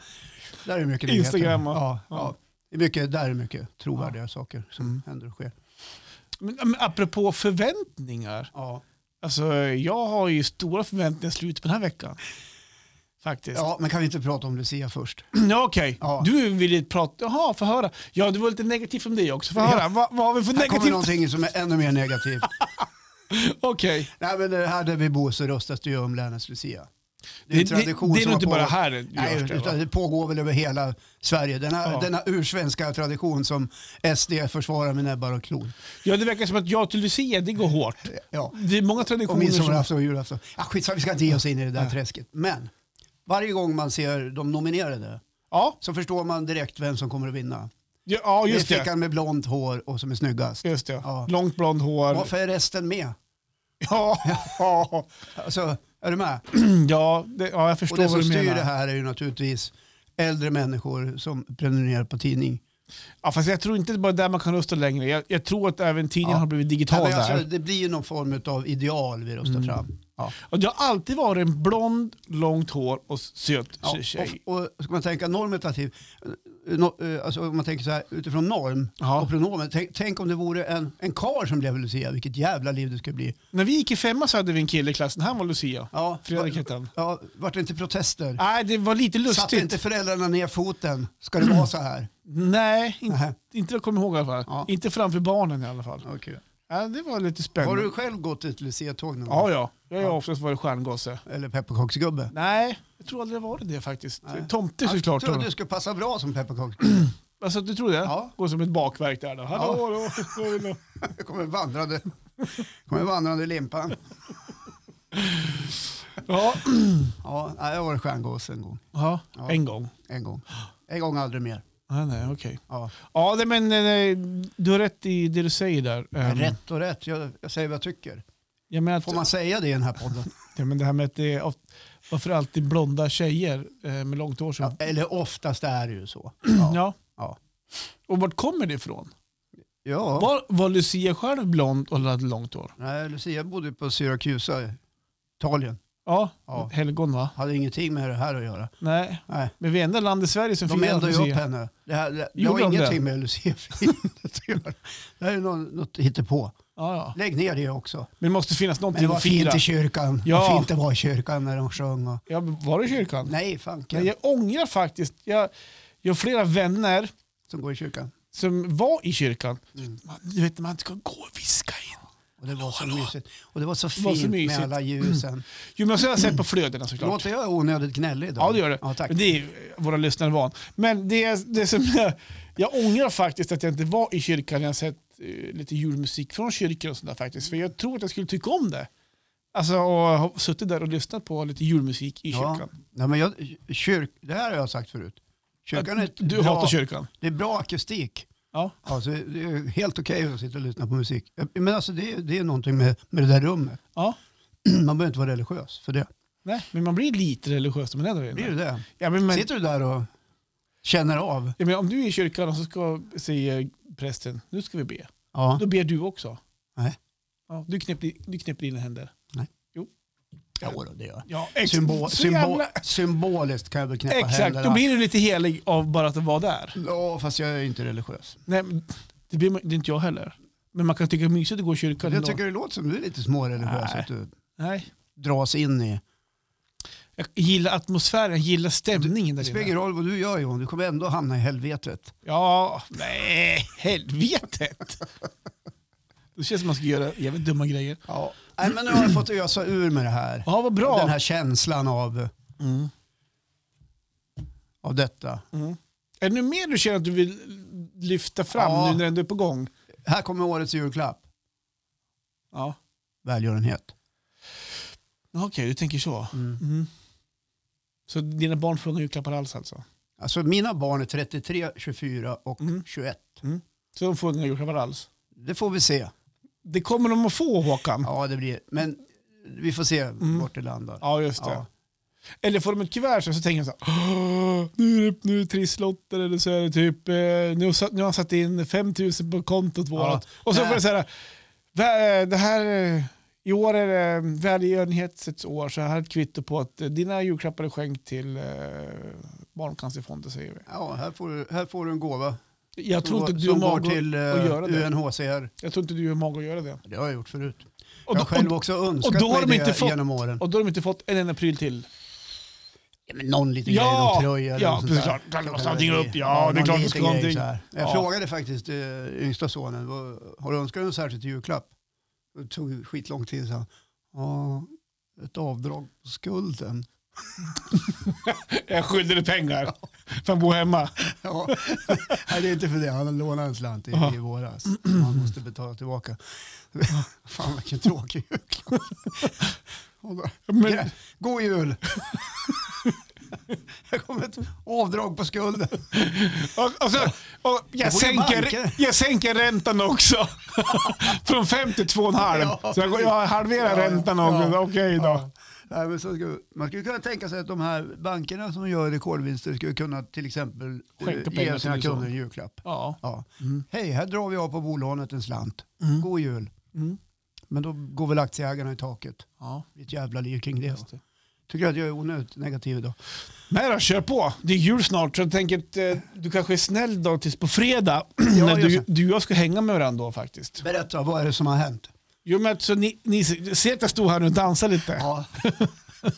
Speaker 1: Där är det mycket
Speaker 2: Instagram
Speaker 1: nyheter.
Speaker 2: och-
Speaker 1: Ja, ja.
Speaker 2: ja.
Speaker 1: Det är mycket, där är mycket trovärdiga saker som
Speaker 2: Mm.
Speaker 1: händer och sker.
Speaker 2: Men, men apropå förväntningar.
Speaker 1: Ja.
Speaker 2: Alltså, jag har ju stora förväntningar i slutet på den här veckan. Faktiskt. Ja,
Speaker 1: ja, men kan vi inte prata om Lucia först?
Speaker 2: okej.
Speaker 1: Ja.
Speaker 2: Du ville prata... Jaha, få höra. Ja, du var lite negativ om det också. Få
Speaker 1: Ja.
Speaker 2: höra. Vad, vad har vi för
Speaker 1: Här kommer
Speaker 2: negativt?
Speaker 1: någonting som är ännu mer negativt.
Speaker 2: Okej.
Speaker 1: Nej, men det här där vi bor så röstas det ju om länets Lucia. Det är
Speaker 2: Det,
Speaker 1: en tradition
Speaker 2: det, det är
Speaker 1: som
Speaker 2: nog
Speaker 1: har
Speaker 2: inte bara
Speaker 1: pågått-
Speaker 2: här det görs
Speaker 1: Nej,
Speaker 2: det,
Speaker 1: utan
Speaker 2: va?
Speaker 1: det pågår väl över hela Sverige. Denna,
Speaker 2: Ja.
Speaker 1: denna ursvenska tradition som SD försvarar med näbbar och klor.
Speaker 2: Ja, det verkar som att jag till Lucia, det går hårt.
Speaker 1: Ja.
Speaker 2: Det är många
Speaker 1: Och
Speaker 2: traditioner som...
Speaker 1: midsommarafton och julafton. Ja, skitsamma, vi ska inte ge oss in i det där träsket. Men varje gång man ser de nominerade
Speaker 2: Ja,
Speaker 1: så förstår man direkt vem som kommer att vinna.
Speaker 2: ja, ja
Speaker 1: Det är
Speaker 2: just det.
Speaker 1: flickan med blont hår och som är snyggast.
Speaker 2: Just det.
Speaker 1: Ja.
Speaker 2: Långt blond hår.
Speaker 1: Varför är resten med?
Speaker 2: Ja, ja.
Speaker 1: Alltså, är du med?
Speaker 2: Ja, det, ja, jag
Speaker 1: Och
Speaker 2: förstår
Speaker 1: det
Speaker 2: vad
Speaker 1: som
Speaker 2: du
Speaker 1: styr
Speaker 2: menar.
Speaker 1: det här är ju naturligtvis äldre människor som prenumererar på tidning.
Speaker 2: Ja, fast jag tror inte det är bara där man kan rösta längre. Jag, jag tror att även tidningen
Speaker 1: Ja.
Speaker 2: har blivit digital
Speaker 1: Ja, men alltså,
Speaker 2: där. Mm.
Speaker 1: det blir ju någon form av ideal vi röstar fram. Ja.
Speaker 2: Och det har alltid varit en blond, långt hår och söt
Speaker 1: Ja,
Speaker 2: tjej.
Speaker 1: och, och ska man tänka normativ, eh, no, eh, alltså om man tänker så här utifrån norm
Speaker 2: Ja.
Speaker 1: och pronomen. Tänk, tänk om det vore en, en kar som blev Lucia, vilket jävla liv det skulle bli.
Speaker 2: När vi gick i femma så hade vi en kille i klassen, han var Lucia.
Speaker 1: Ja,
Speaker 2: Fredrik
Speaker 1: va-
Speaker 2: hette han.
Speaker 1: ja, vart det inte protester?
Speaker 2: Nej, det Mm. var lite
Speaker 1: Satte
Speaker 2: lustigt.
Speaker 1: inte föräldrarna ner foten? Ska det vara så här?
Speaker 2: Nej, inte,
Speaker 1: Nähä,
Speaker 2: inte jag kommer ihåg i alla fall.
Speaker 1: Ja.
Speaker 2: Inte framför barnen i alla fall.
Speaker 1: okej.
Speaker 2: Ja, det var lite
Speaker 1: Har
Speaker 2: spännande.
Speaker 1: du själv gått ett Lucia-tåg någon
Speaker 2: Ja, ja. Jag har
Speaker 1: Ja.
Speaker 2: oftast varit stjärngosse.
Speaker 1: gång? Eller pepparkaksgubbe?
Speaker 2: Nej, jag tror aldrig det var det faktiskt.
Speaker 1: Nej.
Speaker 2: Tomte
Speaker 1: Jag
Speaker 2: såklart.
Speaker 1: trodde du skulle passa bra som pepparkaksgubbe.
Speaker 2: Alltså du tror det?
Speaker 1: Ja.
Speaker 2: Går som ett bakverk där då. Hallå, då, då, vill jag-
Speaker 1: Jag kommer vandrande, kommer vandrande i limpan.
Speaker 2: Ja.
Speaker 1: Ja, nej, jag var stjärngås en gång.
Speaker 2: ja,
Speaker 1: Ja.
Speaker 2: en gång.
Speaker 1: En gång. En gång aldrig mer.
Speaker 2: Ja, nej, okej.
Speaker 1: Ja.
Speaker 2: Ja, nej, men eh, nej, du har rätt i det du säger där. Ehm,
Speaker 1: Rätt och rätt, jag, jag säger vad jag tycker.
Speaker 2: Jag menar att,
Speaker 1: Får man säga det i den här podden?
Speaker 2: ja, men det här med att det är oft, varför alltid blonda tjejer eh, med långt hår som...
Speaker 1: Ja, eller oftast är det ju så.
Speaker 2: Ja.
Speaker 1: Ja. Ja.
Speaker 2: Och vart kommer det ifrån?
Speaker 1: ja.
Speaker 2: Var, var Lucia själv blond och hade långt hår?
Speaker 1: Nej, Lucia bodde på Syrakusa, Italien.
Speaker 2: Ja,
Speaker 1: Ja.
Speaker 2: helgon va?
Speaker 1: Hade ingenting med det här att göra.
Speaker 2: Nej,
Speaker 1: Nej.
Speaker 2: men vi är enda land i Sverige som
Speaker 1: De eldade ju upp
Speaker 2: Lucia.
Speaker 1: henne. Det, här, det, det
Speaker 2: Gjorde
Speaker 1: har
Speaker 2: de
Speaker 1: ingenting
Speaker 2: det?
Speaker 1: med Lucia-firandet att göra. Det här är någon, något hittepå.
Speaker 2: Ja, ja.
Speaker 1: Lägg ner det också.
Speaker 2: Men det måste finnas
Speaker 1: Men det
Speaker 2: någonting
Speaker 1: var
Speaker 2: att fira.
Speaker 1: fint i kyrkan.
Speaker 2: Ja.
Speaker 1: Vad fint det var i kyrkan när de sjöng. Och...
Speaker 2: Ja, men var det i kyrkan?
Speaker 1: Nej, fanken
Speaker 2: Nej, jag ångrar faktiskt. Jag, jag har flera vänner
Speaker 1: som går i kyrkan.
Speaker 2: som var i kyrkan.
Speaker 1: Mm.
Speaker 2: Man, du vet, man ska gå och viska in.
Speaker 1: Och det var så mysigt. Och det var så fint
Speaker 2: var så mysigt.
Speaker 1: med alla ljusen.
Speaker 2: Jo, men så har jag sett på flödena såklart.
Speaker 1: Låter jag onödigt gnällig idag?
Speaker 2: Ja, det gör det.
Speaker 1: Ja, tack.
Speaker 2: Men det är ju eh, våra lyssnare van. Men det, är- det som jag, jag ångrar faktiskt att jag inte var i kyrkan. Jag har sett eh, lite julmusik från kyrkan och sådär faktiskt. För jag tror att jag skulle tycka om det. Alltså, och jag har suttit där och lyssnat på lite julmusik i
Speaker 1: Ja.
Speaker 2: kyrkan.
Speaker 1: Nej, men jag, kyrk, det här har jag sagt förut. Kyrkan är ett
Speaker 2: Du
Speaker 1: bra,
Speaker 2: hatar kyrkan?
Speaker 1: Det är bra akustik.
Speaker 2: Ja.
Speaker 1: Alltså, det är helt okej att sitta och lyssna på musik. Men alltså, det, är- det är någonting med, med det där rummet.
Speaker 2: ja.
Speaker 1: Man behöver inte vara religiös för det.
Speaker 2: Nej, men man blir lite religiös när man är där
Speaker 1: Blir
Speaker 2: inne.
Speaker 1: du det?
Speaker 2: Ja, men, men,
Speaker 1: Sitter du där och känner av?
Speaker 2: ja, men om du är i kyrkan och så ska, säger prästen, nu ska vi be.
Speaker 1: Ja.
Speaker 2: Då ber du också.
Speaker 1: Nej.
Speaker 2: Ja, du, knäpper, du knäpper dina händer.
Speaker 1: Jo, då, det gör jag.
Speaker 2: Ja, ex-
Speaker 1: Symbol,
Speaker 2: så
Speaker 1: symbol,
Speaker 2: jävla-
Speaker 1: symboliskt kan jag väl knäppa
Speaker 2: Exakt,
Speaker 1: händerna.
Speaker 2: då blir du lite helig av bara att vara där.
Speaker 1: Ja, fast jag är inte religiös.
Speaker 2: Nej, men det, blir, man- det är inte jag heller. Men man kan tycka det är mysigt att gå i kyrkan.
Speaker 1: Jag
Speaker 2: ändå.
Speaker 1: tycker det låter som du är lite småreligiös.
Speaker 2: Nej.
Speaker 1: Att du
Speaker 2: Nej.
Speaker 1: dras in i...
Speaker 2: Jag gillar atmosfären, jag gillar stämningen
Speaker 1: Det
Speaker 2: där
Speaker 1: spelar
Speaker 2: inne.
Speaker 1: ingen roll vad du gör Johan, du kommer ändå hamna i helvetet.
Speaker 2: Ja, nej, helvetet. Det känns som man ska göra jävligt dumma grejer.
Speaker 1: Ja. Nej, men nu har jag fått ösa ur med det här.
Speaker 2: Ja, vad bra.
Speaker 1: Den här känslan av,
Speaker 2: Mm.
Speaker 1: av detta.
Speaker 2: Mm. Är det nu mer du känner att du vill lyfta fram
Speaker 1: Ja.
Speaker 2: nu när det ändå är på gång?
Speaker 1: Här kommer årets julklapp.
Speaker 2: Ja.
Speaker 1: Välgörenhet.
Speaker 2: Okej, du tänker så. Mm. Så dina barn får inga julklappar alls alltså?
Speaker 1: Alltså mina barn är 33, 24 och
Speaker 2: Mm.
Speaker 1: 21.
Speaker 2: Så de får inga julklappar alls?
Speaker 1: Det får vi se.
Speaker 2: Det kommer de att få Håkan. Ja,
Speaker 1: Ja, det blir. Men vi får se
Speaker 2: Mm.
Speaker 1: vart det landar.
Speaker 2: just det.
Speaker 1: Ja.
Speaker 2: Eller får de ett kuvert så, så tänker de så här, "Åh, nu är det, nu är det trisslotter eller så är det typ, eh, nu, har satt- nu har han satt in 5000 på kontot vårat. Och så
Speaker 1: Nej.
Speaker 2: får det så här, "Vä- det här, eh, i år är det eh, välgörenhetens år så här är ett kvitto på att eh, dina julklappar är skänkt till eh, Barncancerfonden säger vi.
Speaker 1: Ja, här får, du, här får du en gåva.
Speaker 2: Jag tror, inte
Speaker 1: som
Speaker 2: du
Speaker 1: går- som går
Speaker 2: har mag att-
Speaker 1: till eh,
Speaker 2: att göra det.
Speaker 1: UNHCR.
Speaker 2: jag tror inte du har mag att göra det.
Speaker 1: Det har jag gjort förut. jag
Speaker 2: Och då,
Speaker 1: har själv
Speaker 2: och,
Speaker 1: också önskat
Speaker 2: och då har
Speaker 1: mig
Speaker 2: de
Speaker 1: det
Speaker 2: inte fått-
Speaker 1: genom åren.
Speaker 2: och då har de inte fått en enda pryl till.
Speaker 1: Ja, men någon liten
Speaker 2: Ja,
Speaker 1: grej, någon tröja eller
Speaker 2: ja,
Speaker 1: något sånt
Speaker 2: precis,
Speaker 1: där.
Speaker 2: klart. Det måste
Speaker 1: Så
Speaker 2: någonting
Speaker 1: kan
Speaker 2: Alltså, upp. Ja, det är
Speaker 1: någon
Speaker 2: klart det
Speaker 1: liten
Speaker 2: ska
Speaker 1: grej
Speaker 2: någonting.
Speaker 1: så här. Jag
Speaker 2: Ja.
Speaker 1: frågade faktiskt eh, yngsta sonen, vad, har du önskat dig en särskild julklapp? Det tog skitlång tid, så han. Ja, ett avdrag på skulden.
Speaker 2: Jag är skyldig dig pengar för att bo hemma.
Speaker 1: Ja. Nej, det är inte för det. Han lånade en slant i,
Speaker 2: Ja.
Speaker 1: i våras. som Han måste betala tillbaka. Fan vilken tråkig julklapp. Och då-
Speaker 2: Men,
Speaker 1: God jul! Jag kommer ett avdrag på skulden.
Speaker 2: och, och så, och jag,
Speaker 1: får ju
Speaker 2: sänker,
Speaker 1: banker.
Speaker 2: jag sänker räntan också. Från 5 till 2,5.
Speaker 1: Ja.
Speaker 2: så jag, går- jag halverar
Speaker 1: Ja, ja.
Speaker 2: räntan också.
Speaker 1: Ja.
Speaker 2: Okej då.
Speaker 1: Ja. Nej, men så skulle, man skulle kunna tänka sig att de här bankerna som gör rekordvinster skulle kunna till exempel eh,
Speaker 2: Skänka pengar
Speaker 1: ge
Speaker 2: till
Speaker 1: sina
Speaker 2: din son.
Speaker 1: kunder en julklapp.
Speaker 2: Ja.
Speaker 1: Ja. Hej, här drar vi av på bolånet en slant.
Speaker 2: Mm.
Speaker 1: God jul.
Speaker 2: Mm.
Speaker 1: Men då går väl aktieägarna i taket.
Speaker 2: Ja.
Speaker 1: Det blir ett jävla liv kring det.
Speaker 2: Just det.
Speaker 1: Tycker du att jag är onödigt negativ idag?
Speaker 2: Nej då, kör på. Det är jul snart så jag tänker att eh, du kanske är snäll då tills på fredag. när
Speaker 1: just det.
Speaker 2: du, du och jag ska hänga med varandra då faktiskt.
Speaker 1: Berätta, vad är det som har hänt?
Speaker 2: Jo, men alltså, ni, ni ser att jag stod här nu och dansade lite.
Speaker 1: Ja.
Speaker 2: Yeah,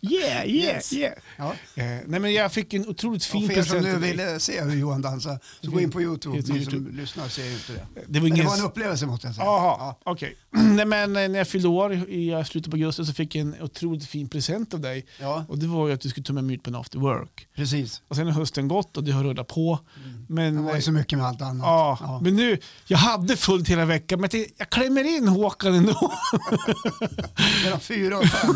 Speaker 2: yeah,
Speaker 1: Yes.
Speaker 2: yeah.
Speaker 1: Ja.
Speaker 2: Eh, nej, men jag fick en otroligt fin
Speaker 1: Och för er som
Speaker 2: present.
Speaker 1: nu
Speaker 2: av dig.
Speaker 1: vill eh, se hur Johan dansar, så gå in på YouTube.
Speaker 2: Just
Speaker 1: Ni som
Speaker 2: YouTube.
Speaker 1: lyssnar ser ju inte det.
Speaker 2: Det var
Speaker 1: Men det
Speaker 2: ingen...
Speaker 1: var en upplevelse måste jag säga.
Speaker 2: Jaha, okej. Nej, men eh, när jag fyllde år i eh, slutet på augusti så fick jag en otroligt fin present av dig.
Speaker 1: Ja,
Speaker 2: Och det var ju att du skulle ta med mig ut på en after work.
Speaker 1: precis.
Speaker 2: Och sen har hösten gått och det har rullat på. Men,
Speaker 1: Mm.
Speaker 2: eh,
Speaker 1: Det var ju så mycket med allt annat.
Speaker 2: ja,
Speaker 1: Ja.
Speaker 2: men nu, jag hade fullt hela veckan men jag, tänkte, jag klämmer in Håkan ändå.
Speaker 1: Mellan fyra och fem.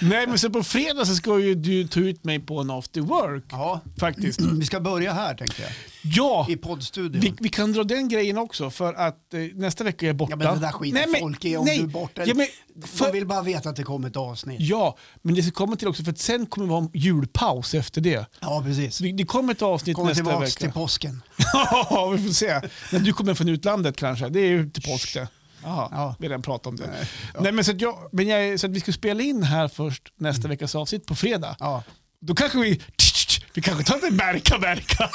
Speaker 2: Nej men så på fredag så ska ju du ta ut mig på en after work.
Speaker 1: Ja,
Speaker 2: Faktiskt.
Speaker 1: vi ska börja här tänkte jag.
Speaker 2: Ja,
Speaker 1: I poddstudion.
Speaker 2: vi, vi kan dra den grejen också för att eh, nästa vecka är jag borta.
Speaker 1: Ja, men det där skiter folk i om du är borta.
Speaker 2: Ja, men,
Speaker 1: De
Speaker 2: för,
Speaker 1: vill bara veta att det kommer ett avsnitt.
Speaker 2: Ja, men det ska komma till också för att sen kommer det vara en julpaus efter det.
Speaker 1: Ja, precis.
Speaker 2: Så vi- Det kommer ett avsnitt
Speaker 1: Kommer
Speaker 2: nästa
Speaker 1: tillbaka
Speaker 2: vecka.
Speaker 1: till påsken.
Speaker 2: ja, vi får se. När du kommer från utlandet kanske. Det är ju till påsk det. Jaha,
Speaker 1: Ja.
Speaker 2: vi har redan pratat om det. Nej, men så, att jag, men jag, så att vi ska spela in här först nästa veckas avsnitt på fredag.
Speaker 1: Mm. Ja.
Speaker 2: Då kanske vi... Vi kanske tar en märka, märka.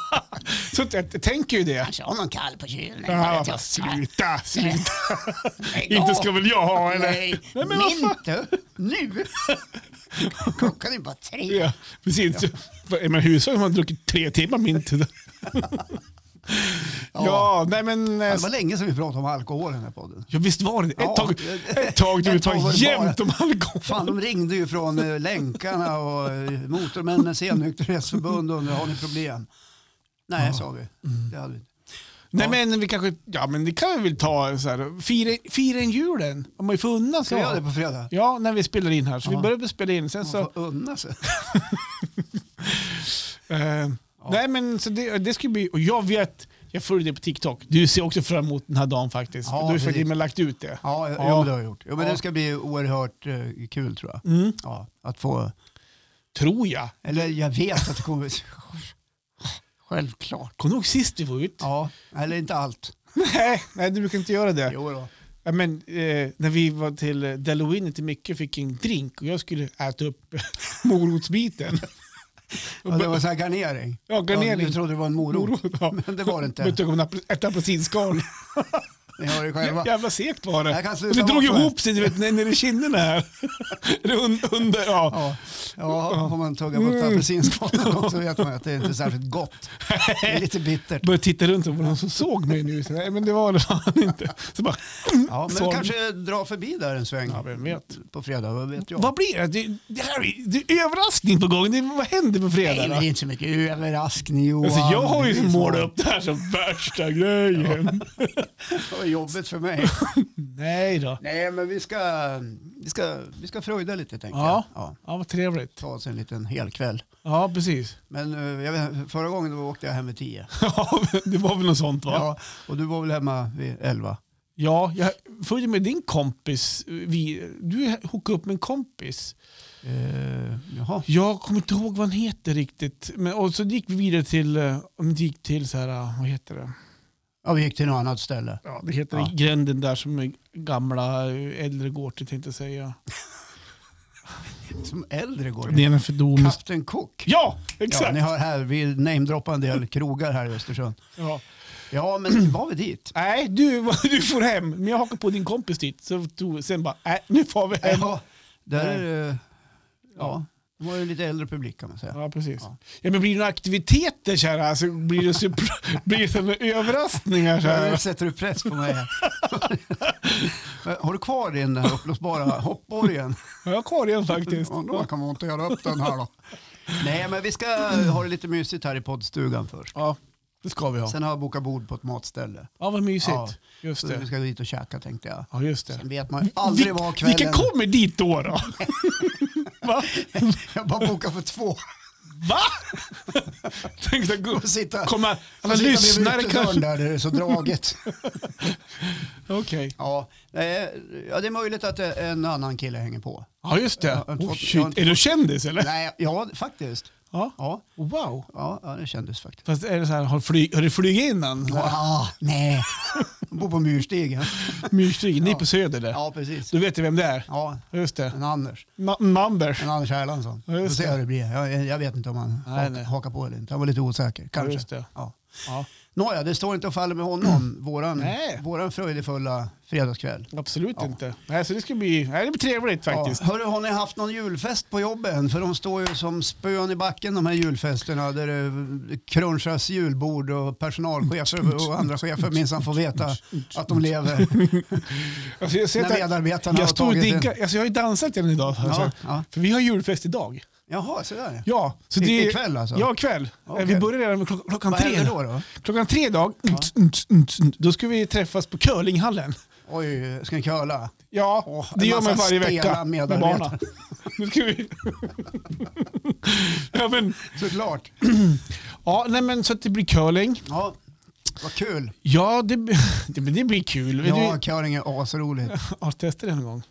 Speaker 2: så att jag, jag tänker ju det.
Speaker 1: Kanske har någon kall på kylen.
Speaker 2: Ja, men sluta, sluta.
Speaker 1: Lägg
Speaker 2: Inte
Speaker 1: av.
Speaker 2: ska väl jag ha eller?
Speaker 1: Nej,
Speaker 2: Nej, men vad fan?
Speaker 1: inte nu. Klockan är bara tre.
Speaker 2: Ja, precis. Är man i hushåll har man druckit tre timmar mint. ja, nej men... eh,
Speaker 1: Det var länge sedan vi pratade om alkohol i den här podden.
Speaker 2: Ja, visst var det
Speaker 1: Ja.
Speaker 2: Ett tag, ett tag du
Speaker 1: Ett
Speaker 2: vill
Speaker 1: tag var det
Speaker 2: ta jämt om
Speaker 1: bara-
Speaker 2: alkohol.
Speaker 1: Fan, de ringde ju från eh, Länkarna och eh, Motormännens Helnykterhetsförbund och undrade har ni problem? Nej, sa vi.
Speaker 2: Mm.
Speaker 1: Det hade vi. inte.
Speaker 2: Nej men vi kanske, ja men det kan vi väl ta så här, fira, fira en julen. Om man ju får unna
Speaker 1: Ska
Speaker 2: sig.
Speaker 1: vi göra det på fredag?
Speaker 2: Ja, när vi spelar in här. Så vi börjar spela in. Sen så,
Speaker 1: Man får unna sig.
Speaker 2: eh, Nej men så det, det ska bli, och jag vet, jag följer det på TikTok. Du ser också fram emot den här dagen faktiskt.
Speaker 1: Ja,
Speaker 2: du har ju för
Speaker 1: precis.
Speaker 2: att lagt ut det.
Speaker 1: Ja, ja. Jo, men
Speaker 2: Ja.
Speaker 1: det har jag gjort. Jo, men
Speaker 2: Ja.
Speaker 1: Det ska bli oerhört eh, kul tror jag.
Speaker 2: Mm,
Speaker 1: Ja, att få,
Speaker 2: tror jag.
Speaker 1: eller jag vet att det kommer... Självklart.
Speaker 2: Kommer du ihåg sist vi var ut?
Speaker 1: Ja, eller inte allt.
Speaker 2: Nej, nej, du brukar inte göra det.
Speaker 1: Jo då.
Speaker 2: Ja, men, eh, när vi var till eh, Delaware till Micke fick en drink och jag skulle äta upp morotsbiten.
Speaker 1: Ja, det var så här garnering.
Speaker 2: Ja, garnering.
Speaker 1: Ja, du trodde det var en morot.
Speaker 2: Morot, ja.
Speaker 1: Men det var det inte.
Speaker 2: Men tog en appel- ett apelsinskal.
Speaker 1: Ni hör ju själva.
Speaker 2: Jävla segt var det.
Speaker 1: Jag kan
Speaker 2: Och
Speaker 1: sluta
Speaker 2: det drog
Speaker 1: vara så här.
Speaker 2: ihop sig du vet, ner i kinderna här. Eller un- under, ja.
Speaker 1: Ja, ja, om man tuggar på ett
Speaker 2: Mm.
Speaker 1: apelsinskal så vet man att det är inte är särskilt gott. Det är lite bittert.
Speaker 2: Började titta runt, var det någon som såg mig nu? Så, nej, men det var det fan inte. Så bara,
Speaker 1: Ja, men
Speaker 2: Sorg.
Speaker 1: kanske dra förbi där en sväng
Speaker 2: Ja, vem vet.
Speaker 1: på fredag, vad vet jag?
Speaker 2: Vad blir det? Det, det, här, är- det är överraskning på gång. Det, vad händer på fredag?
Speaker 1: Nej,
Speaker 2: då?
Speaker 1: men det är inte så mycket överraskning Johan.
Speaker 2: Alltså, jag har
Speaker 1: Det
Speaker 2: ju
Speaker 1: är så-
Speaker 2: målat upp det här som värsta grejen.
Speaker 1: Det var jobbigt för mig.
Speaker 2: Nej då.
Speaker 1: Nej, men vi ska, vi ska, vi ska fröjda lite tänker
Speaker 2: Ja.
Speaker 1: jag. Ja,
Speaker 2: Ja, vad trevligt.
Speaker 1: ta oss en liten hel kväll.
Speaker 2: Ja, precis.
Speaker 1: Men eh, jag vet, förra gången då åkte jag hem vid tio.
Speaker 2: Ja, det var väl något sånt va? Ja,
Speaker 1: Ja, och du var väl hemma vid elva?
Speaker 2: jag följde med din kompis. Vi, du hookade upp med en kompis.
Speaker 1: Eh, jaha.
Speaker 2: Jag kommer inte ihåg vad han heter riktigt. Men, och så gick vi vidare till, eh, vi gick till så här, eh, vad heter det?
Speaker 1: Ja, vi gick till något annat ställe.
Speaker 2: Ja, det heter
Speaker 1: Ja.
Speaker 2: gränden där som är gamla eh, äldregård tänkte jag säga.
Speaker 1: Som äldre går
Speaker 2: Det
Speaker 1: det.
Speaker 2: är en fördomning.
Speaker 1: Captain Cook.
Speaker 2: Ja,
Speaker 1: Ja,
Speaker 2: exakt!
Speaker 1: ni hör här, vi namedroppar en del krogar här i Östersund.
Speaker 2: Ja.
Speaker 1: Ja, men var vi dit?
Speaker 2: Nej, du, du får hem. Men jag hakar på din kompis dit. Så tog, sen bara, nej, nu får vi hem.
Speaker 1: Ja, Äh, där är eh, ja, det var ju lite äldre publik kan man säga.
Speaker 2: Ja, precis. Ja.
Speaker 1: Ja.
Speaker 2: men blir det några aktiviteter så här? Alltså, blir det, så, blir det så här överraskningar så
Speaker 1: Nu
Speaker 2: här?
Speaker 1: sätter du press på mig. här. Men Har du kvar din eh, där uppblåsbara hoppborgen?
Speaker 2: Ja, jag har kvar den faktiskt.
Speaker 1: Ja, då kan man inte göra upp den här då. Nej, men vi ska ha det lite mysigt här i poddstugan först.
Speaker 2: Ja, det ska vi ha.
Speaker 1: Sen har jag bokat bord på ett matställe.
Speaker 2: Ja, vad mysigt.
Speaker 1: Ja.
Speaker 2: Just
Speaker 1: Så vi
Speaker 2: det.
Speaker 1: ska dit och käka tänkte jag.
Speaker 2: Ja, just det.
Speaker 1: Sen vet man ju aldrig vad
Speaker 2: Vil-
Speaker 1: kvällen...
Speaker 2: Vilka kommer dit då? då? Va?
Speaker 1: Jag bara bokar för två.
Speaker 2: Va? Tänk så här, gu-
Speaker 1: Och sitta,
Speaker 2: kommer alla
Speaker 1: och sitta vid
Speaker 2: lyssnare
Speaker 1: utedörren
Speaker 2: kanske.
Speaker 1: där, där det är så draget.
Speaker 2: Okej.
Speaker 1: Ja, nej, ja, det är möjligt att det är en annan kille hänger på.
Speaker 2: Ja, just det.
Speaker 1: Jag har inte
Speaker 2: Oh,
Speaker 1: fått-
Speaker 2: shit.
Speaker 1: jag har inte
Speaker 2: Är du kändis eller?
Speaker 1: Nej, ja, faktiskt.
Speaker 2: Ja.
Speaker 1: Ja,
Speaker 2: Wow.
Speaker 1: ja, ja det kändes faktiskt.
Speaker 2: Fast är det så här, har, flyg, har du flugit innan?
Speaker 1: Ja, nej. Han bor på Myrstegen.
Speaker 2: Myrsteg, ni är på Söder där.
Speaker 1: Ja, precis.
Speaker 2: Då vet du vem det är.
Speaker 1: Ja,
Speaker 2: Just det.
Speaker 1: en Anders.
Speaker 2: Ma- Manders.
Speaker 1: En Anders Erlandsson.
Speaker 2: Ja,
Speaker 1: Vi
Speaker 2: just
Speaker 1: får se hur det blir. Jag, jag vet inte om han
Speaker 2: Nej,
Speaker 1: hak,
Speaker 2: nej.
Speaker 1: hakar på eller inte. Han var lite osäker, kanske.
Speaker 2: Just det.
Speaker 1: Ja.
Speaker 2: Ja,
Speaker 1: Nåja, det står inte och faller med honom, våran,
Speaker 2: Nej.
Speaker 1: våran fröjdefulla fredagskväll.
Speaker 2: absolut inte. Nej, så det ska bli, nej, det blir trevligt faktiskt.
Speaker 1: Ja. Hörru, har ni haft någon julfest på jobben? För de står ju som spön i backen de här julfesterna där det crunchas julbord och personalchefer och andra chefer minsann får veta att de lever.
Speaker 2: Alltså, jag, ser
Speaker 1: När
Speaker 2: att jag,
Speaker 1: medarbetarna
Speaker 2: jag
Speaker 1: har
Speaker 2: stod och
Speaker 1: tagit en-
Speaker 2: dinkade, alltså, jag har ju dansat den idag. Alltså.
Speaker 1: Ja, ja.
Speaker 2: För vi har julfest idag.
Speaker 1: Jaha, sådär
Speaker 2: Ja, så
Speaker 1: I-
Speaker 2: det är,
Speaker 1: ikväll alltså?
Speaker 2: Ja, ikväll.
Speaker 1: Okej.
Speaker 2: Vi börjar redan med klock, klockan
Speaker 1: Vad
Speaker 2: tre.
Speaker 1: händer då? då?
Speaker 2: Klockan tre idag, då ska vi träffas på curlinghallen.
Speaker 1: Oj, ska ni köla?
Speaker 2: Ja,
Speaker 1: en
Speaker 2: det gör man
Speaker 1: massa
Speaker 2: varje vecka
Speaker 1: stela
Speaker 2: med
Speaker 1: medarbetare.
Speaker 2: barnen. Nu ska vi... ja, men,
Speaker 1: Såklart.
Speaker 2: ja, nej, men så att det blir curling.
Speaker 1: Ja, vad kul.
Speaker 2: Ja, det, det, men det blir kul.
Speaker 1: Ja,
Speaker 2: Du,
Speaker 1: curling är asroligt.
Speaker 2: har du testat det någon gång?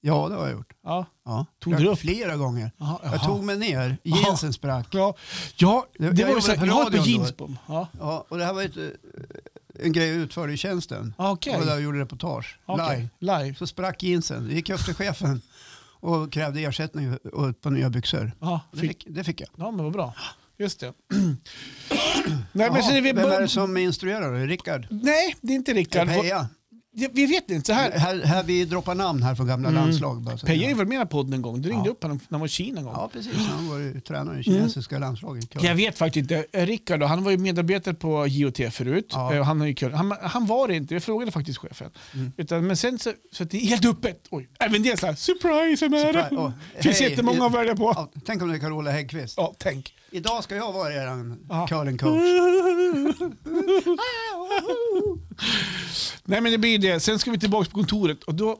Speaker 1: Ja, det har jag gjort.
Speaker 2: Ja.
Speaker 1: Ja.
Speaker 2: Tog
Speaker 1: Jag
Speaker 2: du
Speaker 1: har
Speaker 2: upp?
Speaker 1: Flera gånger.
Speaker 2: Jaha,
Speaker 1: Jag tog mig ner, jeansen sprack.
Speaker 2: Ja, ja det
Speaker 1: Jag-
Speaker 2: var
Speaker 1: jag
Speaker 2: ju så här,
Speaker 1: jobbade
Speaker 2: jag
Speaker 1: på
Speaker 2: var på
Speaker 1: radion då.
Speaker 2: Jeansbom. Ja.
Speaker 1: Ja, och det här var ett, eh, en grej jag utförde i tjänsten.
Speaker 2: Ah, Okej,
Speaker 1: Och där jag gjorde reportage
Speaker 2: Okej.
Speaker 1: live.
Speaker 2: live.
Speaker 1: Så sprack jeansen. Det gick jag upp till chefen och krävde ersättning och ett par nya byxor.
Speaker 2: Ja,
Speaker 1: Det
Speaker 2: fick,
Speaker 1: fick, det fick jag.
Speaker 2: ja, men vad bra. Just det. nej, men
Speaker 1: Jaha,
Speaker 2: så är vi
Speaker 1: vem är
Speaker 2: bör-
Speaker 1: det som instruerar? då? Rickard?
Speaker 2: nej, det är inte Rickard.
Speaker 1: Peja?
Speaker 2: Vi- Vi vet inte. Så här.
Speaker 1: Här, här vi droppar namn här från gamla landslag. Bara så.
Speaker 2: Mm. Peja har ju varit med i den här podden en gång. Du ringde
Speaker 1: Ja.
Speaker 2: upp honom när han var i Kina en gång.
Speaker 1: Ja, precis. Han var ju
Speaker 2: Mm.
Speaker 1: tränare i kinesiska landslaget.
Speaker 2: Jag vet faktiskt inte. Eh, Rickard, då, han var ju medarbetare på JOT förut.
Speaker 1: Ja. Mm.
Speaker 2: Eh, och Han, har ju kul. han, han var det inte, jag frågade faktiskt chefen. Utan, men sen så, så att det är helt öppet. Oj. Även det är så här, surprise, vem är det?
Speaker 1: Surprise, åh,
Speaker 2: finns
Speaker 1: hej,
Speaker 2: jättemånga
Speaker 1: vi-
Speaker 2: att välja på.
Speaker 1: Ja, tänk om det är Carola Häggkvist.
Speaker 2: Ja, tänk.
Speaker 1: Idag ska jag vara er
Speaker 2: Ja.
Speaker 1: curlingcoach.
Speaker 2: Nej men det blir det. Sen ska vi tillbaka på kontoret och då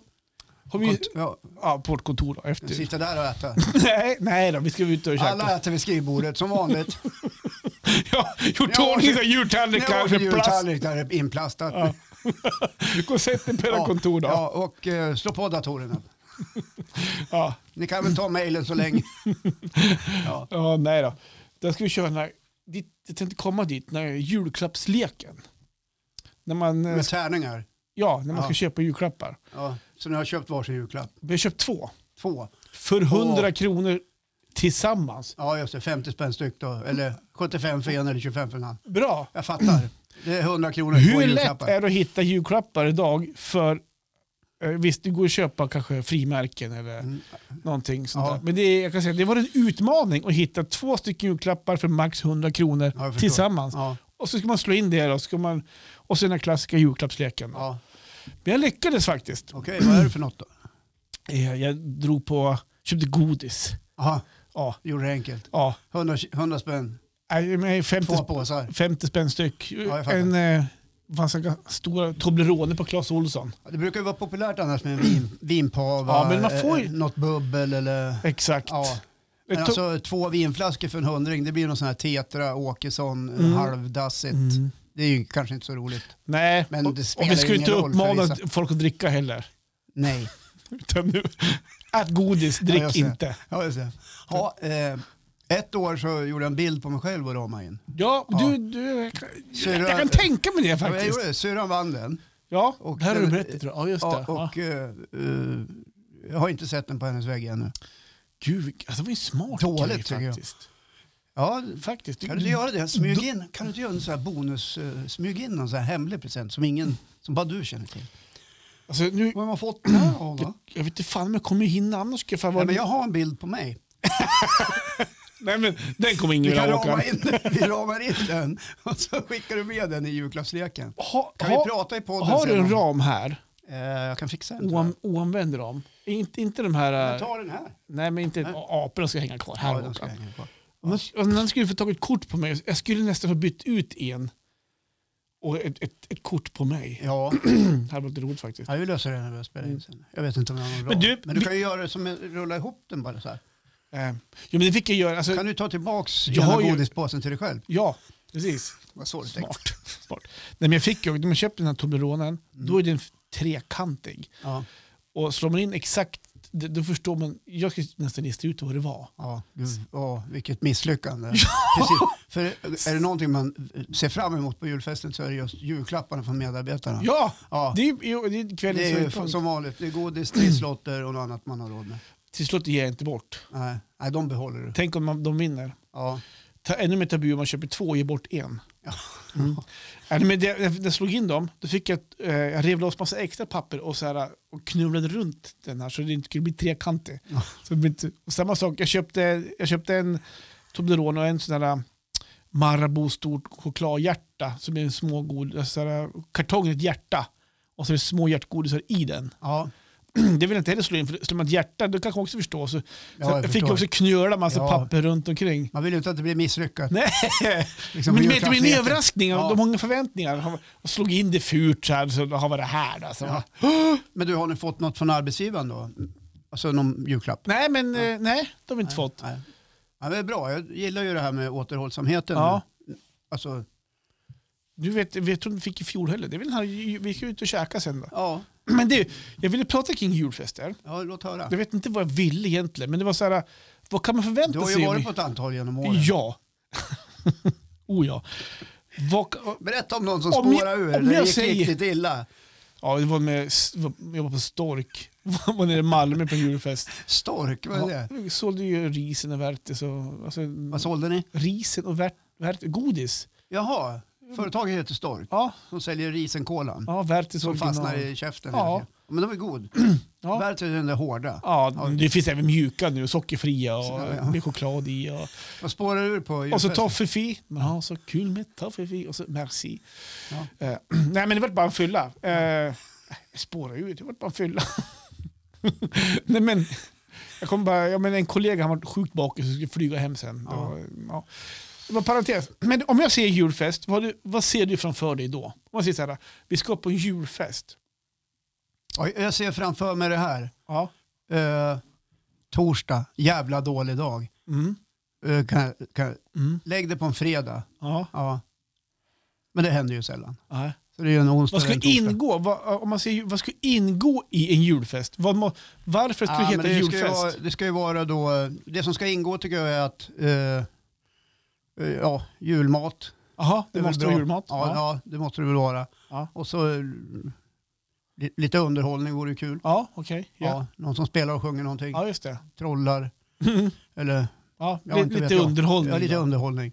Speaker 2: har vi...
Speaker 1: Kont- Ja,
Speaker 2: Ja, på vårt kontor då, efter.
Speaker 1: sitta där och äta.
Speaker 2: Nej, nej då, vi ska ut och käka.
Speaker 1: Alla äter vid skrivbordet som vanligt.
Speaker 2: Ja, gjort
Speaker 1: Ja,
Speaker 2: ordning
Speaker 1: och-
Speaker 2: så
Speaker 1: Nu
Speaker 2: djurtallrikar
Speaker 1: åker
Speaker 2: med plast.
Speaker 1: djurtallrik där inplastat.
Speaker 2: Ja. Gå och sätt dig på era
Speaker 1: Ja,
Speaker 2: kontor då.
Speaker 1: Ja, och eh, slå på datorerna.
Speaker 2: Ja.
Speaker 1: Ni kan väl ta mejlen så länge. Ja.
Speaker 2: Ja, nej då. Där ska vi köra den här, dit, jag tänkte komma dit, den här julklappsleken. När man, eh,
Speaker 1: Med tärningar.
Speaker 2: ja, när man ska
Speaker 1: Ja.
Speaker 2: köpa julklappar.
Speaker 1: Ja. Så ni har köpt varsin julklapp?
Speaker 2: Vi har köpt två.
Speaker 1: Två?
Speaker 2: För 100 kronor tillsammans.
Speaker 1: Ja, just det. 50 spänn styck då. Eller 75 för en eller 25 för en annan.
Speaker 2: Bra.
Speaker 1: Jag fattar. Det är 100 kronor på
Speaker 2: Hur lätt
Speaker 1: julklappar.
Speaker 2: är det att hitta julklappar idag för eh, Visst, det går att köpa kanske frimärken eller
Speaker 1: Mm.
Speaker 2: någonting sånt
Speaker 1: Ja.
Speaker 2: där. Men det, jag kan säga, det var en utmaning att hitta två stycken julklappar för max 100 kronor
Speaker 1: Ja, jag förstår.
Speaker 2: tillsammans.
Speaker 1: Ja,
Speaker 2: Och så ska man slå in det då, ska man, och så den här klassiska julklappsleken.
Speaker 1: ja.
Speaker 2: Men jag lyckades faktiskt.
Speaker 1: Okej, vad är det för något då?
Speaker 2: Eh, Jag drog på, köpte godis.
Speaker 1: Aha,
Speaker 2: Ja,
Speaker 1: gjorde det enkelt.
Speaker 2: ja.
Speaker 1: 100, 100 spänn,
Speaker 2: Nej, men 50,
Speaker 1: två
Speaker 2: sp-
Speaker 1: påsar.
Speaker 2: 50 spänn styck.
Speaker 1: jag fattar.
Speaker 2: en eh, fanns en ganska stor Toblerone på Clas Ohlson.
Speaker 1: Ja, Det brukar ju vara populärt annars med en vin, vinpava,
Speaker 2: Ja, men man får ju-
Speaker 1: eh, något bubbel eller...
Speaker 2: Exakt.
Speaker 1: Ja. Men
Speaker 2: Ett to-
Speaker 1: alltså två vinflaskor för en hundring, det blir ju någon sån här Tetra Åkesson,
Speaker 2: Mm.
Speaker 1: halvdassigt.
Speaker 2: Mm.
Speaker 1: Det är ju kanske inte så roligt.
Speaker 2: Nej,
Speaker 1: Men
Speaker 2: och,
Speaker 1: det
Speaker 2: och
Speaker 1: spelar
Speaker 2: vi skulle
Speaker 1: ingen
Speaker 2: inte
Speaker 1: roll för
Speaker 2: uppmana
Speaker 1: vissa.
Speaker 2: folk att dricka heller.
Speaker 1: Nej.
Speaker 2: Utan nu, ät godis, drick
Speaker 1: just det.
Speaker 2: inte.
Speaker 1: Ja, just det. Ja, eh, ett år så gjorde jag en bild på mig själv och ramade in.
Speaker 2: Ja,
Speaker 1: Ja.
Speaker 2: Du, du, jag, kan-
Speaker 1: Så är det-
Speaker 2: jag kan tänka mig det
Speaker 1: Ja, Jag
Speaker 2: faktiskt.
Speaker 1: gjorde det. Syrran vann den.
Speaker 2: Ja,
Speaker 1: Och
Speaker 2: det här har du
Speaker 1: den-
Speaker 2: berättat tror jag. Ja, just det.
Speaker 1: Ja,
Speaker 2: Ja.
Speaker 1: och eh, eh, jag har inte sett den på hennes vägg ännu.
Speaker 2: Gud, vilk- alltså, det var ju smart
Speaker 1: Dåligt,
Speaker 2: grej
Speaker 1: tycker jag.
Speaker 2: faktiskt.
Speaker 1: Ja,
Speaker 2: Faktiskt.
Speaker 1: kan du inte göra det? Smyg in, kan du inte göra en sån här bonus, eh, smyg in någon sån här hemlig present som ingen, som bara du känner till?
Speaker 2: Alltså, nu,
Speaker 1: Vad har man fått den här av
Speaker 2: jag,
Speaker 1: då?
Speaker 2: jag vet inte fan om jag kommer hinna annars. Ska jag fan vara...
Speaker 1: Nej, men jag har en bild på mig.
Speaker 2: Nej, men den kommer
Speaker 1: Vi
Speaker 2: ingen
Speaker 1: kan
Speaker 2: vilja åka.
Speaker 1: rama in, vi ramar in den och så skickar du med den i julklappsleken.
Speaker 2: Ha,
Speaker 1: Kan
Speaker 2: ha,
Speaker 1: vi prata i podden
Speaker 2: har
Speaker 1: sen?
Speaker 2: du en
Speaker 1: om-
Speaker 2: ram här?
Speaker 1: Eh, jag kan fixa en. tror jag.
Speaker 2: Oan, oanvänd ram? Inte, inte de här...
Speaker 1: Jag tar den här.
Speaker 2: Nej, men inte aporna ska hänga kvar Eh, här.
Speaker 1: Ja,
Speaker 2: borta.
Speaker 1: den ska jag hänga på.
Speaker 2: Om han- om han skulle få tagit ett kort på mig, jag skulle nästan ha bytt ut en och ett, ett, ett kort på mig.
Speaker 1: Ja,
Speaker 2: Det hade varit roligt faktiskt.
Speaker 1: ja, vi löser det när vi har spelat in sen. Jag vet inte om jag har någon
Speaker 2: Men
Speaker 1: ram.
Speaker 2: du-
Speaker 1: men du
Speaker 2: vi-
Speaker 1: kan ju göra det som en, rulla ihop den bara så här.
Speaker 2: Eh, jo, men det fick jag göra. Alltså,
Speaker 1: Kan du ta tillbaks
Speaker 2: Jag
Speaker 1: ena
Speaker 2: har ju-
Speaker 1: godispåsen till dig själv?
Speaker 2: Ja, precis.
Speaker 1: Vad så du tänkte.
Speaker 2: Smart. Smart. Nej, men jag fick ju, när man köpte den här Tobleronen,
Speaker 1: Mm.
Speaker 2: då är den trekantig.
Speaker 1: Ja,
Speaker 2: Och slår man in exakt, det- då förstår man, jag skulle nästan lista ut vad det var.
Speaker 1: ja, gud, ja, vilket misslyckande. Precis. För är det någonting man ser fram emot på julfesten så är det just julklapparna från medarbetarna.
Speaker 2: Ja,
Speaker 1: Ja.
Speaker 2: det är, ju- det är kvällens
Speaker 1: Det är ju
Speaker 2: höjdpunkt.
Speaker 1: som vanligt, det är godis, trisslotter och något annat man har råd med.
Speaker 2: Till slut ger jag inte bort.
Speaker 1: Nej, nej de behåller du.
Speaker 2: Tänk om man, de vinner.
Speaker 1: Ja.
Speaker 2: Ta, ännu mer tabu om man köper två och ger bort en.
Speaker 1: Ja.
Speaker 2: Mm. Ja, men det, när jag slog in dem, då fick jag, eh, jag rev loss massa extra papper och, så här, och knulade runt den här så det inte skulle bli trekantig.
Speaker 1: Ja.
Speaker 2: Så det blir inte, och samma sak, jag köpte, jag köpte en Toblerone och en sån där Marabou stort chokladhjärta som är en små god, eh, så här, kartongen är ett hjärta och så är det små hjärtgodisar i den.
Speaker 1: Ja,
Speaker 2: Det vill jag inte heller slå in, för slår man ett hjärta då kanske man också förstår. Så, så
Speaker 1: jag
Speaker 2: jag fick
Speaker 1: förstår.
Speaker 2: också knöla massa
Speaker 1: Ja.
Speaker 2: papper runt omkring.
Speaker 1: man vill ju inte att det blir misslyckat.
Speaker 2: Nej.
Speaker 1: Liksom
Speaker 2: men
Speaker 1: på
Speaker 2: du vet, det blir en
Speaker 1: julklappsleken.
Speaker 2: överraskning.
Speaker 1: Ja.
Speaker 2: De har många förväntningar. Och slog in det fult så här. Så har vi det här då. alltså. Så.
Speaker 1: Ja. Men du, har ni fått något från arbetsgivaren då? Alltså någon julklapp?
Speaker 2: Nej, men eh, nej, de har vi inte fått.
Speaker 1: Nej. Ja, men det är bra, jag gillar ju det här med återhållsamheten.
Speaker 2: Ja.
Speaker 1: Alltså,
Speaker 2: Du vet, vet hon fick i fjol heller. Det är väl den här, vi ska ju ut och käka sen då.
Speaker 1: ja,
Speaker 2: Men du, jag ville prata kring julfester.
Speaker 1: ja låt höra.
Speaker 2: Jag vet inte vad jag ville egentligen, men det var så här, vad kan man förvänta
Speaker 1: Du har
Speaker 2: sig?
Speaker 1: ju
Speaker 2: om-
Speaker 1: varit på ett antal genom åren.
Speaker 2: Ja. oh ja. Vad,
Speaker 1: Berätta om någon som
Speaker 2: Om jag-
Speaker 1: spårar ur,
Speaker 2: om
Speaker 1: det
Speaker 2: jag
Speaker 1: gick
Speaker 2: säger-
Speaker 1: riktigt illa.
Speaker 2: ja, det var med, jag var på Stork. Jag var nere i Malmö på en julfest.
Speaker 1: Stork, vad är det?
Speaker 2: Ja, vi sålde ju risen och värtes och... Alltså,
Speaker 1: Vad sålde ni?
Speaker 2: risen och värt, värt, godis.
Speaker 1: Jaha, företaget heter Stork,
Speaker 2: Ja,
Speaker 1: som säljer risenkolan.
Speaker 2: ja värtes
Speaker 1: Som
Speaker 2: original.
Speaker 1: fastnar i käften.
Speaker 2: Ja.
Speaker 1: hela tiden. Men de är god.
Speaker 2: Ja.
Speaker 1: Värt är den där hårda.
Speaker 2: Ja, det finns även mjuka nu, sockerfria och
Speaker 1: Så, ja.
Speaker 2: med choklad i. Och,
Speaker 1: Vad spårar du på?
Speaker 2: och så
Speaker 1: julfesten?
Speaker 2: toffefi. Man har så kul med toffefi och så merci.
Speaker 1: Ja.
Speaker 2: Eh, nej men det var bara en fylla. Eh, jag spårar ut, det var bara en fylla. nej men, jag kom bara, jag menar, en kollega han var sjukt bakis och skulle flyga hem sen. Det,
Speaker 1: Ja.
Speaker 2: var, ja. det var parentes. Men om jag ser julfest, vad, du, vad ser du framför dig då? Om man säger så här, vi ska på en julfest.
Speaker 1: Oj, jag ser framför mig det här.
Speaker 2: Ja.
Speaker 1: Eh, torsdag, jävla dålig dag.
Speaker 2: Mm.
Speaker 1: Eh, kan, jag- kan, jag-
Speaker 2: Mm.
Speaker 1: lägg det på en fredag.
Speaker 2: Ja.
Speaker 1: Ja. Men det händer ju sällan.
Speaker 2: Nej.
Speaker 1: Så det är ju en onsdag
Speaker 2: Vad skulle
Speaker 1: eller en torsdag.
Speaker 2: ingå, vad, om man säger, vad skulle ingå i en julfest? Vad, må- varför skulle
Speaker 1: Ja,
Speaker 2: det
Speaker 1: Ah, men
Speaker 2: heta
Speaker 1: det, ska ju
Speaker 2: julfest?
Speaker 1: vara, det ska ju vara då, eh, det som ska ingå tycker jag är att eh, eh, ja, julmat.
Speaker 2: Jaha, det,
Speaker 1: är väl
Speaker 2: måste
Speaker 1: bra.
Speaker 2: vara julmat.
Speaker 1: Ja, ja.
Speaker 2: ja.
Speaker 1: det måste det väl vara.
Speaker 2: Ja.
Speaker 1: Och så eh, li- lite underhållning vore ju kul.
Speaker 2: Ja, okej.
Speaker 1: Ja.
Speaker 2: Ja.
Speaker 1: någon som spelar och sjunger någonting.
Speaker 2: ja, just det.
Speaker 1: Trollar. Eller
Speaker 2: Ja,
Speaker 1: Ja,
Speaker 2: li-
Speaker 1: inte vet
Speaker 2: lite
Speaker 1: jag.
Speaker 2: underhållning.
Speaker 1: Ja, lite
Speaker 2: då.
Speaker 1: underhållning.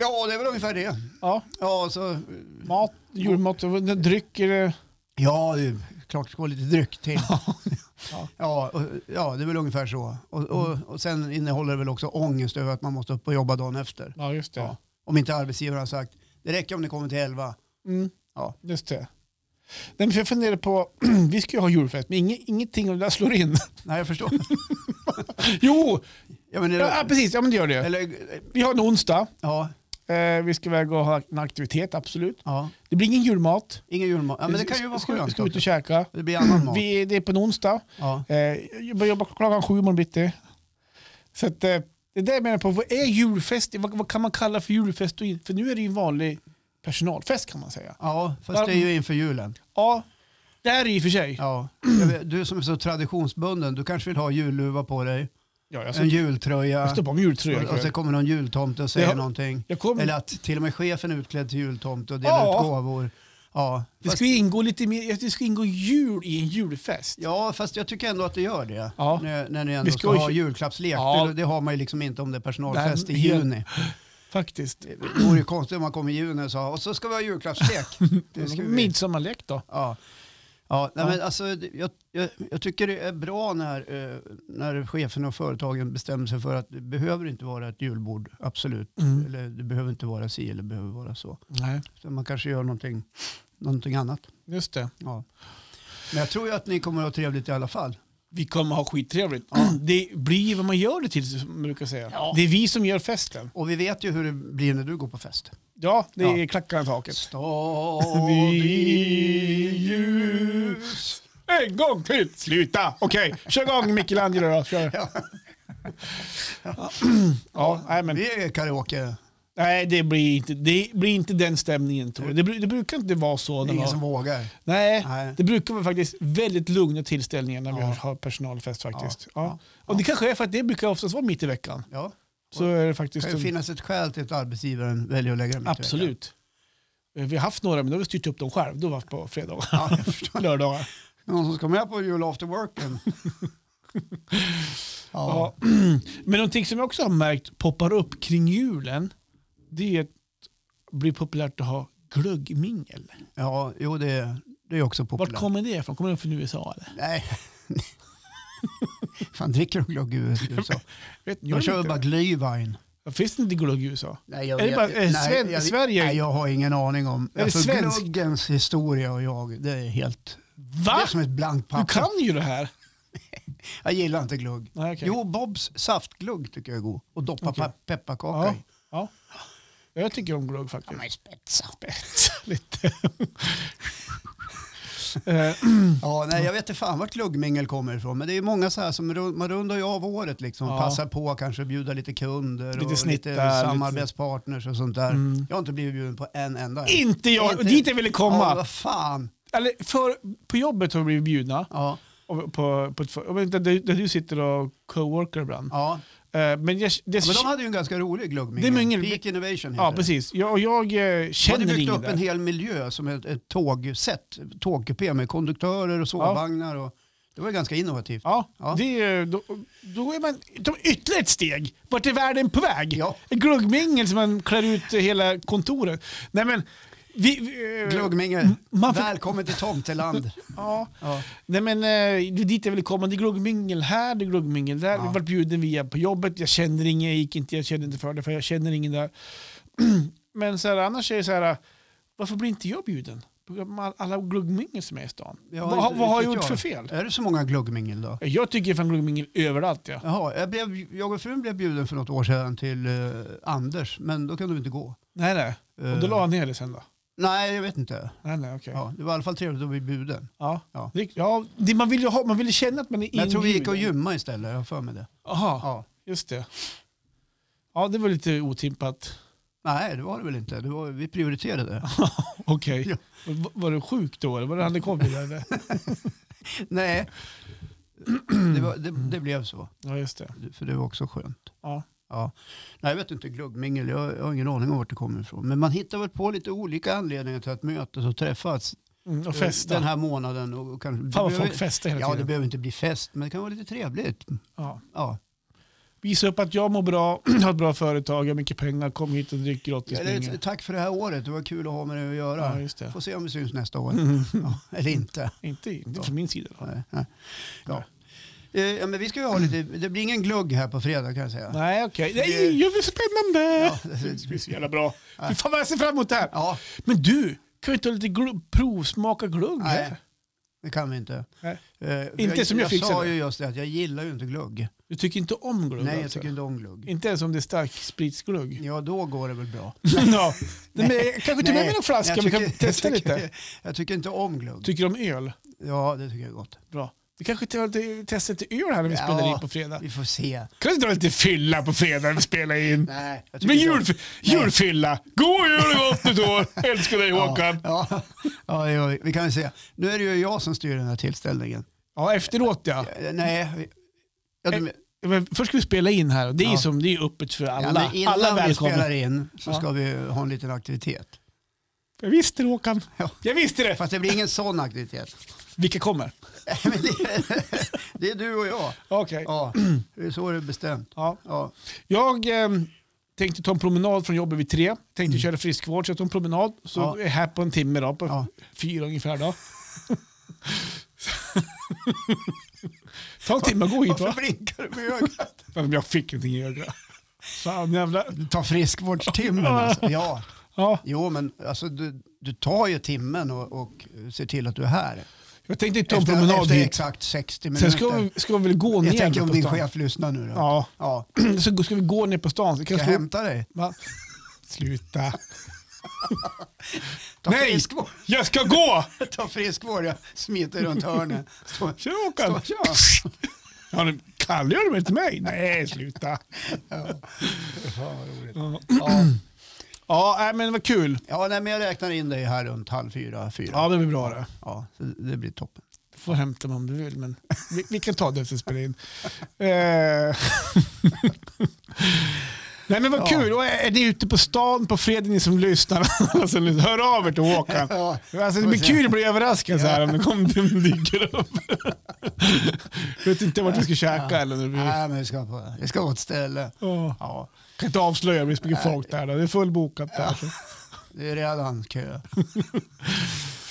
Speaker 1: Ja, det är väl ungefär det.
Speaker 2: Ja,
Speaker 1: Ja, så,
Speaker 2: mat, julmat, dryck är det...
Speaker 1: ja det är klart det ska vara lite dryck till.
Speaker 2: Ja.
Speaker 1: ja, och, ja, det är väl ungefär så. Och,
Speaker 2: Mm.
Speaker 1: och, och sen innehåller det väl också ångest över att man måste upp och jobba dagen efter.
Speaker 2: Ja, just det.
Speaker 1: Ja. Om inte arbetsgivaren har sagt, det räcker om ni kommer till elva.
Speaker 2: Mm.
Speaker 1: Ja.
Speaker 2: Just det. Nej, men för jag funderar på, vi ska ju ha julfest, men inge, ingenting av det där slår in.
Speaker 1: Nej, jag förstår.
Speaker 2: Jo,
Speaker 1: ja, men, är
Speaker 2: ja,
Speaker 1: det,
Speaker 2: precis, ja, men det gör det.
Speaker 1: eller,
Speaker 2: Vi har en onsdag,
Speaker 1: ja,
Speaker 2: eh, vi ska iväg och ha en aktivitet, absolut.
Speaker 1: ja.
Speaker 2: Det blir ingen julmat.
Speaker 1: Ingen julmat. Ja, men det kan ju vara
Speaker 2: Vi ska, vi
Speaker 1: skönt.
Speaker 2: ska ut och
Speaker 1: också.
Speaker 2: käka.
Speaker 1: Det blir annan mat.
Speaker 2: Vi, det är på en onsdag.
Speaker 1: Ja.
Speaker 2: Eh, jag börjar jobba klockan sju imorgon bitti. Så att, eh, det där jag menar på, vad är julfest? Vad, vad kan man kalla för julfest? och in- För nu är det ju en vanlig personalfest kan man säga.
Speaker 1: ja, fast det är ju inför julen.
Speaker 2: Ja, det här är i och för sig. Ja,
Speaker 1: Ja. Jag vet, Du som är så traditionsbunden, du kanske vill ha julluva på dig,
Speaker 2: jag
Speaker 1: en
Speaker 2: står, jag
Speaker 1: jultröja
Speaker 2: står på med jultröja
Speaker 1: och, och så
Speaker 2: ikväll.
Speaker 1: kommer någon jultomte och säger
Speaker 2: Ja.
Speaker 1: någonting.
Speaker 2: Jag kommer-
Speaker 1: Eller att till och med chefen är utklädd till jultomte och delar
Speaker 2: Ja.
Speaker 1: ut gåvor. Ja.
Speaker 2: Det
Speaker 1: Fast,
Speaker 2: ska ju ingå lite mer, det ska ingå jul i en julfest.
Speaker 1: ja, fast jag tycker ändå att det gör det.
Speaker 2: Ja.
Speaker 1: När, när ni
Speaker 2: Vi
Speaker 1: ändå
Speaker 2: ska
Speaker 1: ska,
Speaker 2: ju-
Speaker 1: ha julklappslek.
Speaker 2: Ja.
Speaker 1: Det, det har man ju liksom inte om det är personalfest
Speaker 2: Nej,
Speaker 1: i
Speaker 2: helt-
Speaker 1: juni.
Speaker 2: Faktiskt.
Speaker 1: Det vore ju konstigt om man kom i juni och sa och så ska vi ha julklappslek. Det ska vi-
Speaker 2: Midsommarlek då.
Speaker 1: Ja. Ja, nej,
Speaker 2: Ja.
Speaker 1: Men alltså, det- jag, jag, jag tycker det är bra när, eh, när cheferna och företagen bestämmer sig för att det behöver inte vara ett julbord, absolut.
Speaker 2: Mm.
Speaker 1: Eller det behöver inte vara si eller behöver vara så.
Speaker 2: Nej,
Speaker 1: så man kanske gör någonting, någonting annat.
Speaker 2: just det.
Speaker 1: Ja. Men jag tror ju att ni kommer att ha trevligt i alla fall.
Speaker 2: Vi kommer ha skittrevligt. Det blir vad man gör det till, som man brukar säga.
Speaker 1: Mm. Ja.
Speaker 2: Det är vi som gör festen.
Speaker 1: Och vi vet ju hur det blir när du går på fest.
Speaker 2: Ja, det
Speaker 1: Ja.
Speaker 2: är klackarna i taket.
Speaker 1: Stadig ljus.
Speaker 2: En gång till! Sluta! Okej, kör igång Michelangelo då. Kör. Ja. Ja, nej, men,
Speaker 1: Det är karaoke.
Speaker 2: nej, det blir, inte, det blir inte den stämningen tror jag. Det, bru- det brukar inte vara så.
Speaker 1: Det är
Speaker 2: När
Speaker 1: ingen
Speaker 2: man,
Speaker 1: som vågar.
Speaker 2: nej,
Speaker 1: Nej.
Speaker 2: det brukar vara faktiskt väldigt lugna tillställningar när vi
Speaker 1: Ja.
Speaker 2: har- har personalfest faktiskt. Ja.
Speaker 1: Ja.
Speaker 2: Och det kanske är för att det brukar oftast vara mitt i veckan.
Speaker 1: Ja.
Speaker 2: Så är det
Speaker 1: Det
Speaker 2: faktiskt...
Speaker 1: kan ju
Speaker 2: en-
Speaker 1: finnas ett skäl till att arbetsgivaren väljer att lägga dem mitt i veckan.
Speaker 2: Absolut. Eh, Vi har haft några, men då har vi styrt upp dem själv. Då har vi haft på fredagar,
Speaker 1: Ja, jag förstår.
Speaker 2: lördagar.
Speaker 1: Någon som ska med på jul after worken. ja.
Speaker 2: Ja. Men någonting som jag också har märkt poppar upp kring julen, det är att det blir populärt att ha glöggmingel.
Speaker 1: ja, jo det, det är också
Speaker 2: Vart
Speaker 1: populärt.
Speaker 2: kommer det ifrån? Kommer det från USA? Eller?
Speaker 1: Nej. Fan, dricker de glögg i USA?
Speaker 2: Vet, ni,
Speaker 1: De
Speaker 2: gör
Speaker 1: kör
Speaker 2: de
Speaker 1: väl bara
Speaker 2: inte
Speaker 1: glühwein.
Speaker 2: det? Finns det inte glögg i USA?
Speaker 1: Nej, jag
Speaker 2: Är det bara,
Speaker 1: inte.
Speaker 2: eh, Sven-
Speaker 1: jag,
Speaker 2: Sverige?
Speaker 1: Nej, jag har ingen aning om. Alltså,
Speaker 2: det svensk?
Speaker 1: glöggens historia och jag, det är helt... Det
Speaker 2: Va?
Speaker 1: är som ett blankt
Speaker 2: Du
Speaker 1: papper.
Speaker 2: kan ju det här.
Speaker 1: Jag gillar inte glögg.
Speaker 2: Nej, okej.
Speaker 1: Jo, Bobs saftglögg tycker jag är god. Och doppa
Speaker 2: Okej.
Speaker 1: pe- pepparkaka
Speaker 2: Ja,
Speaker 1: i.
Speaker 2: ja. Jag tycker om glögg faktiskt.
Speaker 1: är spetsad.
Speaker 2: Spetsa lite. Eh,
Speaker 1: Ja, nej, jag vet inte fan vart gluggmingel kommer ifrån. Men det är ju många så här som ru- man rundar ju av året liksom.
Speaker 2: Ja.
Speaker 1: Passar på att kanske bjuda lite kunder
Speaker 2: Lite
Speaker 1: och
Speaker 2: snittar,
Speaker 1: lite
Speaker 2: lite-
Speaker 1: samarbetspartners och sånt där.
Speaker 2: Mm.
Speaker 1: Jag har inte blivit bjuden på en enda. än.
Speaker 2: Inte jag, och dit jag ville
Speaker 1: Ja,
Speaker 2: komma.
Speaker 1: vad fan.
Speaker 2: Eller för, på jobbet har vi blivit bjudna,
Speaker 1: Ja,
Speaker 2: och på, på ett, för- jag vet inte, där, där du sitter och coworkar ibland.
Speaker 1: ja.
Speaker 2: Eh, Men jag, det,
Speaker 1: ja men de hade ju en ganska rolig gluggmingel.
Speaker 2: Det är mingel-
Speaker 1: Peak Innovation heter
Speaker 2: ja,
Speaker 1: det.
Speaker 2: precis. Jag, och jag eh,
Speaker 1: De hade
Speaker 2: känner
Speaker 1: byggt
Speaker 2: ingen
Speaker 1: upp en
Speaker 2: där.
Speaker 1: hel miljö som ett, ett tågsätt, tågkupé med konduktörer och sovvagnar. Och, det var ganska innovativt.
Speaker 2: Ja,
Speaker 1: Ja.
Speaker 2: Det, är- då, då är man de, ytterligare ett steg. Vart är världen på väg?
Speaker 1: Ja.
Speaker 2: En gluggmingel som man klär ut eh, hela kontoret. Nej men, vi... vi, eh,
Speaker 1: Gluggmingel,
Speaker 2: man fick-
Speaker 1: välkommen till Tomteland.
Speaker 2: Ja.
Speaker 1: Ja.
Speaker 2: Nej men, eh, det är dit jag ville komma. Det är gluggmingel här, det är gluggmingel där.
Speaker 1: Ja.
Speaker 2: Jag vart bjuden via på jobbet. Jag känner ingen, jag gick inte, jag kände inte för det för jag känner ingen där. men så här, annars är det så här, varför blir inte jag bjuden? På grund av alla gluggmingel som är i stan.
Speaker 1: Ja,
Speaker 2: vad,
Speaker 1: inte-
Speaker 2: vad har jag
Speaker 1: inte
Speaker 2: gjort för
Speaker 1: vet
Speaker 2: fel?
Speaker 1: Är det så många gluggmingel då?
Speaker 2: Jag tycker fan gluggmingel överallt ja.
Speaker 1: Jaha, jag, blev, jag och frun blev bjuden för något år sedan till eh, Anders, men då kunde vi inte gå.
Speaker 2: Nej nej, och då
Speaker 1: Eh,
Speaker 2: la han ner det sen då?
Speaker 1: Nej, jag vet inte.
Speaker 2: Nej nej okej.
Speaker 1: Ja, det var i alla fall trevligt att bli bjuden.
Speaker 2: Ja.
Speaker 1: Ja.
Speaker 2: Det- Ja, det, man, vill ju ha, man vill ju känna att man
Speaker 1: Men
Speaker 2: är inbjuden.
Speaker 1: jag tror vi gick och gymma istället, jag har för mig det.
Speaker 2: Jaha,
Speaker 1: Ja.
Speaker 2: just det. Ja, det var lite otippat.
Speaker 1: Nej, det var det väl inte. Det var, vi prioriterade.
Speaker 2: Okej.
Speaker 1: Ja.
Speaker 2: Var, var du sjuk då? Eller var det hade covid? Eller?
Speaker 1: Nej, det, var,
Speaker 2: Mm.
Speaker 1: det, det blev så.
Speaker 2: ja, just det.
Speaker 1: För det var också skönt.
Speaker 2: Ja.
Speaker 1: Ja. Nej, jag vet inte, gluggmingel, jag, jag har ingen aning om vart det kommer ifrån. Men man hittar väl på lite olika anledningar till att mötas och träffas
Speaker 2: Mm, och
Speaker 1: eh,
Speaker 2: festa.
Speaker 1: den här månaden. Och, och kanske, det
Speaker 2: Fan vad
Speaker 1: behöver-
Speaker 2: folk festar hela
Speaker 1: Ja, det
Speaker 2: tiden.
Speaker 1: behöver inte bli fest, men det kan vara lite trevligt.
Speaker 2: Ja.
Speaker 1: Ja.
Speaker 2: Visa upp att jag mår bra, har ett bra företag, jag har mycket pengar, kom hit och drick gratis.
Speaker 1: Ja, det är-
Speaker 2: pengar.
Speaker 1: tack för det här året, det var kul att ha med dig att
Speaker 2: Ja, Mm.
Speaker 1: göra.
Speaker 2: just det.
Speaker 1: Får se om vi syns nästa år. Ja, eller inte.
Speaker 2: Inte, inte från min sida. Då.
Speaker 1: Nej, nej. Ja. Eh, Ja, men vi ska ju ha lite, det blir ingen glugg här på fredag kan jag säga.
Speaker 2: Nej, okej.
Speaker 1: Det-
Speaker 2: Nej, det blir spännande.
Speaker 1: Ja,
Speaker 2: det blir så jävla bra. Fy fan vad jag ser fram emot det här.
Speaker 1: Ja,
Speaker 2: Men du, kan vi ta lite gl- provsmaka glugg
Speaker 1: Nej.
Speaker 2: här?
Speaker 1: det kan vi inte.
Speaker 2: Nej.
Speaker 1: Eh, för
Speaker 2: Inte som jag
Speaker 1: jag
Speaker 2: fixar
Speaker 1: sa
Speaker 2: det.
Speaker 1: ju just det att jag gillar ju inte glugg.
Speaker 2: Du tycker inte om glugg
Speaker 1: Nej, jag
Speaker 2: alltså?
Speaker 1: tycker inte om glugg.
Speaker 2: Inte ens om det är starkspritsglugg?
Speaker 1: Ja, då går det väl bra.
Speaker 2: ja. Nej, men jag kanske tar
Speaker 1: Nej,
Speaker 2: med mig någon flaska,
Speaker 1: jag
Speaker 2: vi kan
Speaker 1: tycker-
Speaker 2: testa
Speaker 1: jag tycker,
Speaker 2: lite.
Speaker 1: Jag tycker inte om glugg.
Speaker 2: Tycker du om öl?
Speaker 1: Ja, det tycker jag är gott.
Speaker 2: Bra. Vi kanske tar lite- testar lite öl här när vi
Speaker 1: Ja.
Speaker 2: spelar in på fredag.
Speaker 1: Vi får se.
Speaker 2: Kan vi ta lite fylla på fredag när vi spelar in?
Speaker 1: Nej, jag tycker
Speaker 2: Men
Speaker 1: inte om-
Speaker 2: jul, julfylla! God jul och gott nytt år! Älskar dig Håkan! Ja,
Speaker 1: Ja, ja, ja, det gör vi. vi kan väl se. Nu är det ju jag som styr den här tillställningen.
Speaker 2: efteråt ja.
Speaker 1: Eh, Nej, vi- ja, du,
Speaker 2: Men först ska vi spela in här. Det är ju
Speaker 1: Ja.
Speaker 2: som, det är ju öppet för
Speaker 1: ja,
Speaker 2: alla.
Speaker 1: men innan
Speaker 2: alla är
Speaker 1: vi
Speaker 2: välkomna.
Speaker 1: spelar in så
Speaker 2: Ja.
Speaker 1: ska vi ha en liten aktivitet.
Speaker 2: Jag visste det Håkan.
Speaker 1: Ja.
Speaker 2: Jag visste det.
Speaker 1: Fast det blir ingen sån aktivitet.
Speaker 2: Vilka kommer?
Speaker 1: Men det, det är du och jag.
Speaker 2: Okej.
Speaker 1: Ja, det är så det är bestämt.
Speaker 2: Ja.
Speaker 1: Ja,
Speaker 2: Jag ehm, tänkte ta en promenad från jobbet vid tre. Tänkte köra friskvård, så jag tog en promenad. Så
Speaker 1: Mm. Ja.
Speaker 2: jag är här på en timme då, på
Speaker 1: Ja.
Speaker 2: fyra ungefär då. ta en timme och gå hit va?
Speaker 1: varför blinkar du med ögat?
Speaker 2: Ja, men Jag fick ingenting i ögat. Fan jävla...
Speaker 1: Ta friskvårdstimmen alltså. Ja,
Speaker 2: Ja,
Speaker 1: jo men alltså du, du tar ju timmen och, och ser till att du är här.
Speaker 2: jag tänkte ta en
Speaker 1: Efter,
Speaker 2: promenad
Speaker 1: efter
Speaker 2: hit.
Speaker 1: exakt 60
Speaker 2: Sen
Speaker 1: minuter.
Speaker 2: ska vi, ska vi väl gå
Speaker 1: jag
Speaker 2: ner
Speaker 1: tänker om
Speaker 2: på
Speaker 1: din
Speaker 2: stan.
Speaker 1: chef lyssnar nu då.
Speaker 2: Ja,
Speaker 1: Ja,
Speaker 2: så ska vi gå ner på stan. Så kan
Speaker 1: ska jag
Speaker 2: jag slå...
Speaker 1: hämta dig?
Speaker 2: Va? Sluta.
Speaker 1: Ta
Speaker 2: Nej.
Speaker 1: friskvård.
Speaker 2: Jag ska gå!
Speaker 1: Ta friskvård, jag smiter runt hörnet. Stå,
Speaker 2: Tja
Speaker 1: stå,
Speaker 2: Håkan!
Speaker 1: tja.
Speaker 2: Ja, men kallar du mig till mig? Nej, sluta.
Speaker 1: Ja, vad roligt.
Speaker 2: Ja.
Speaker 1: Ja.
Speaker 2: Ja, nej, men vad kul.
Speaker 1: Ja, nej, men jag räknar in dig här runt halv fyra, fyra.
Speaker 2: Ja, det blir bra det.
Speaker 1: Ja, så det blir toppen.
Speaker 2: Du får hämta mig om du vill, men vi, vi kan ta det efter spelningen. Eh. Nej men vad
Speaker 1: Ja.
Speaker 2: kul, och är ni ute på stan på fredag ni som lyssnar, alltså, nu- hör av er till Håkan.
Speaker 1: Ja,
Speaker 2: Alltså, det blir kul att bli överraskad så här om det kommer om det dyker upp. Vet inte vart vi ska käka eller när det blir...
Speaker 1: nej, men vi ska, på, vi ska åt ett ställe.
Speaker 2: Åh,
Speaker 1: Ja,
Speaker 2: Kan inte avslöja, det blir så mycket folk där. Då. Det är fullbokat där. Så.
Speaker 1: det är redan kö.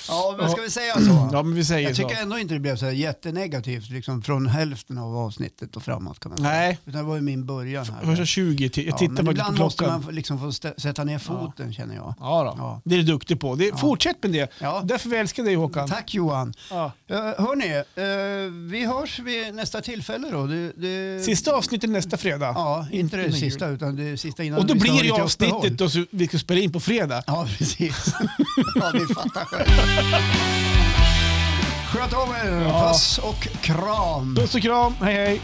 Speaker 1: Ja, men
Speaker 2: Ja.
Speaker 1: ska vi säga så?
Speaker 2: Ja men vi säger
Speaker 1: Jag
Speaker 2: så.
Speaker 1: tycker ändå inte det blev så här jättenegativt liksom från hälften av avsnittet och framåt. Kan man säga.
Speaker 2: Nej.
Speaker 1: Utan det var ju min början här.
Speaker 2: Första 20, ti- jag
Speaker 1: Ja,
Speaker 2: tittar
Speaker 1: men
Speaker 2: faktiskt på
Speaker 1: ibland måste
Speaker 2: klockan.
Speaker 1: man få- liksom få stä- sätta ner foten känner jag.
Speaker 2: Ja, då.
Speaker 1: Ja.
Speaker 2: det är du duktig på. Det, Fortsätt med det.
Speaker 1: Ja.
Speaker 2: Därför vi älskar dig Håkan.
Speaker 1: Tack Johan.
Speaker 2: Ja.
Speaker 1: Uh, hörni, eh, vi hörs vid nästa tillfälle då. Det, det,
Speaker 2: Sista avsnittet nästa fredag.
Speaker 1: Ja, inte det
Speaker 2: innan jul.
Speaker 1: sista utan det sista innan
Speaker 2: Och då
Speaker 1: vi ska ha
Speaker 2: blir det
Speaker 1: lite uppehåll.
Speaker 2: avsnittet då, så vi ska spela in på fredag.
Speaker 1: Ja, precis. ja, ni fattar själv. Sköt om er. Puss och kram.
Speaker 2: Puss och kram, hej hej.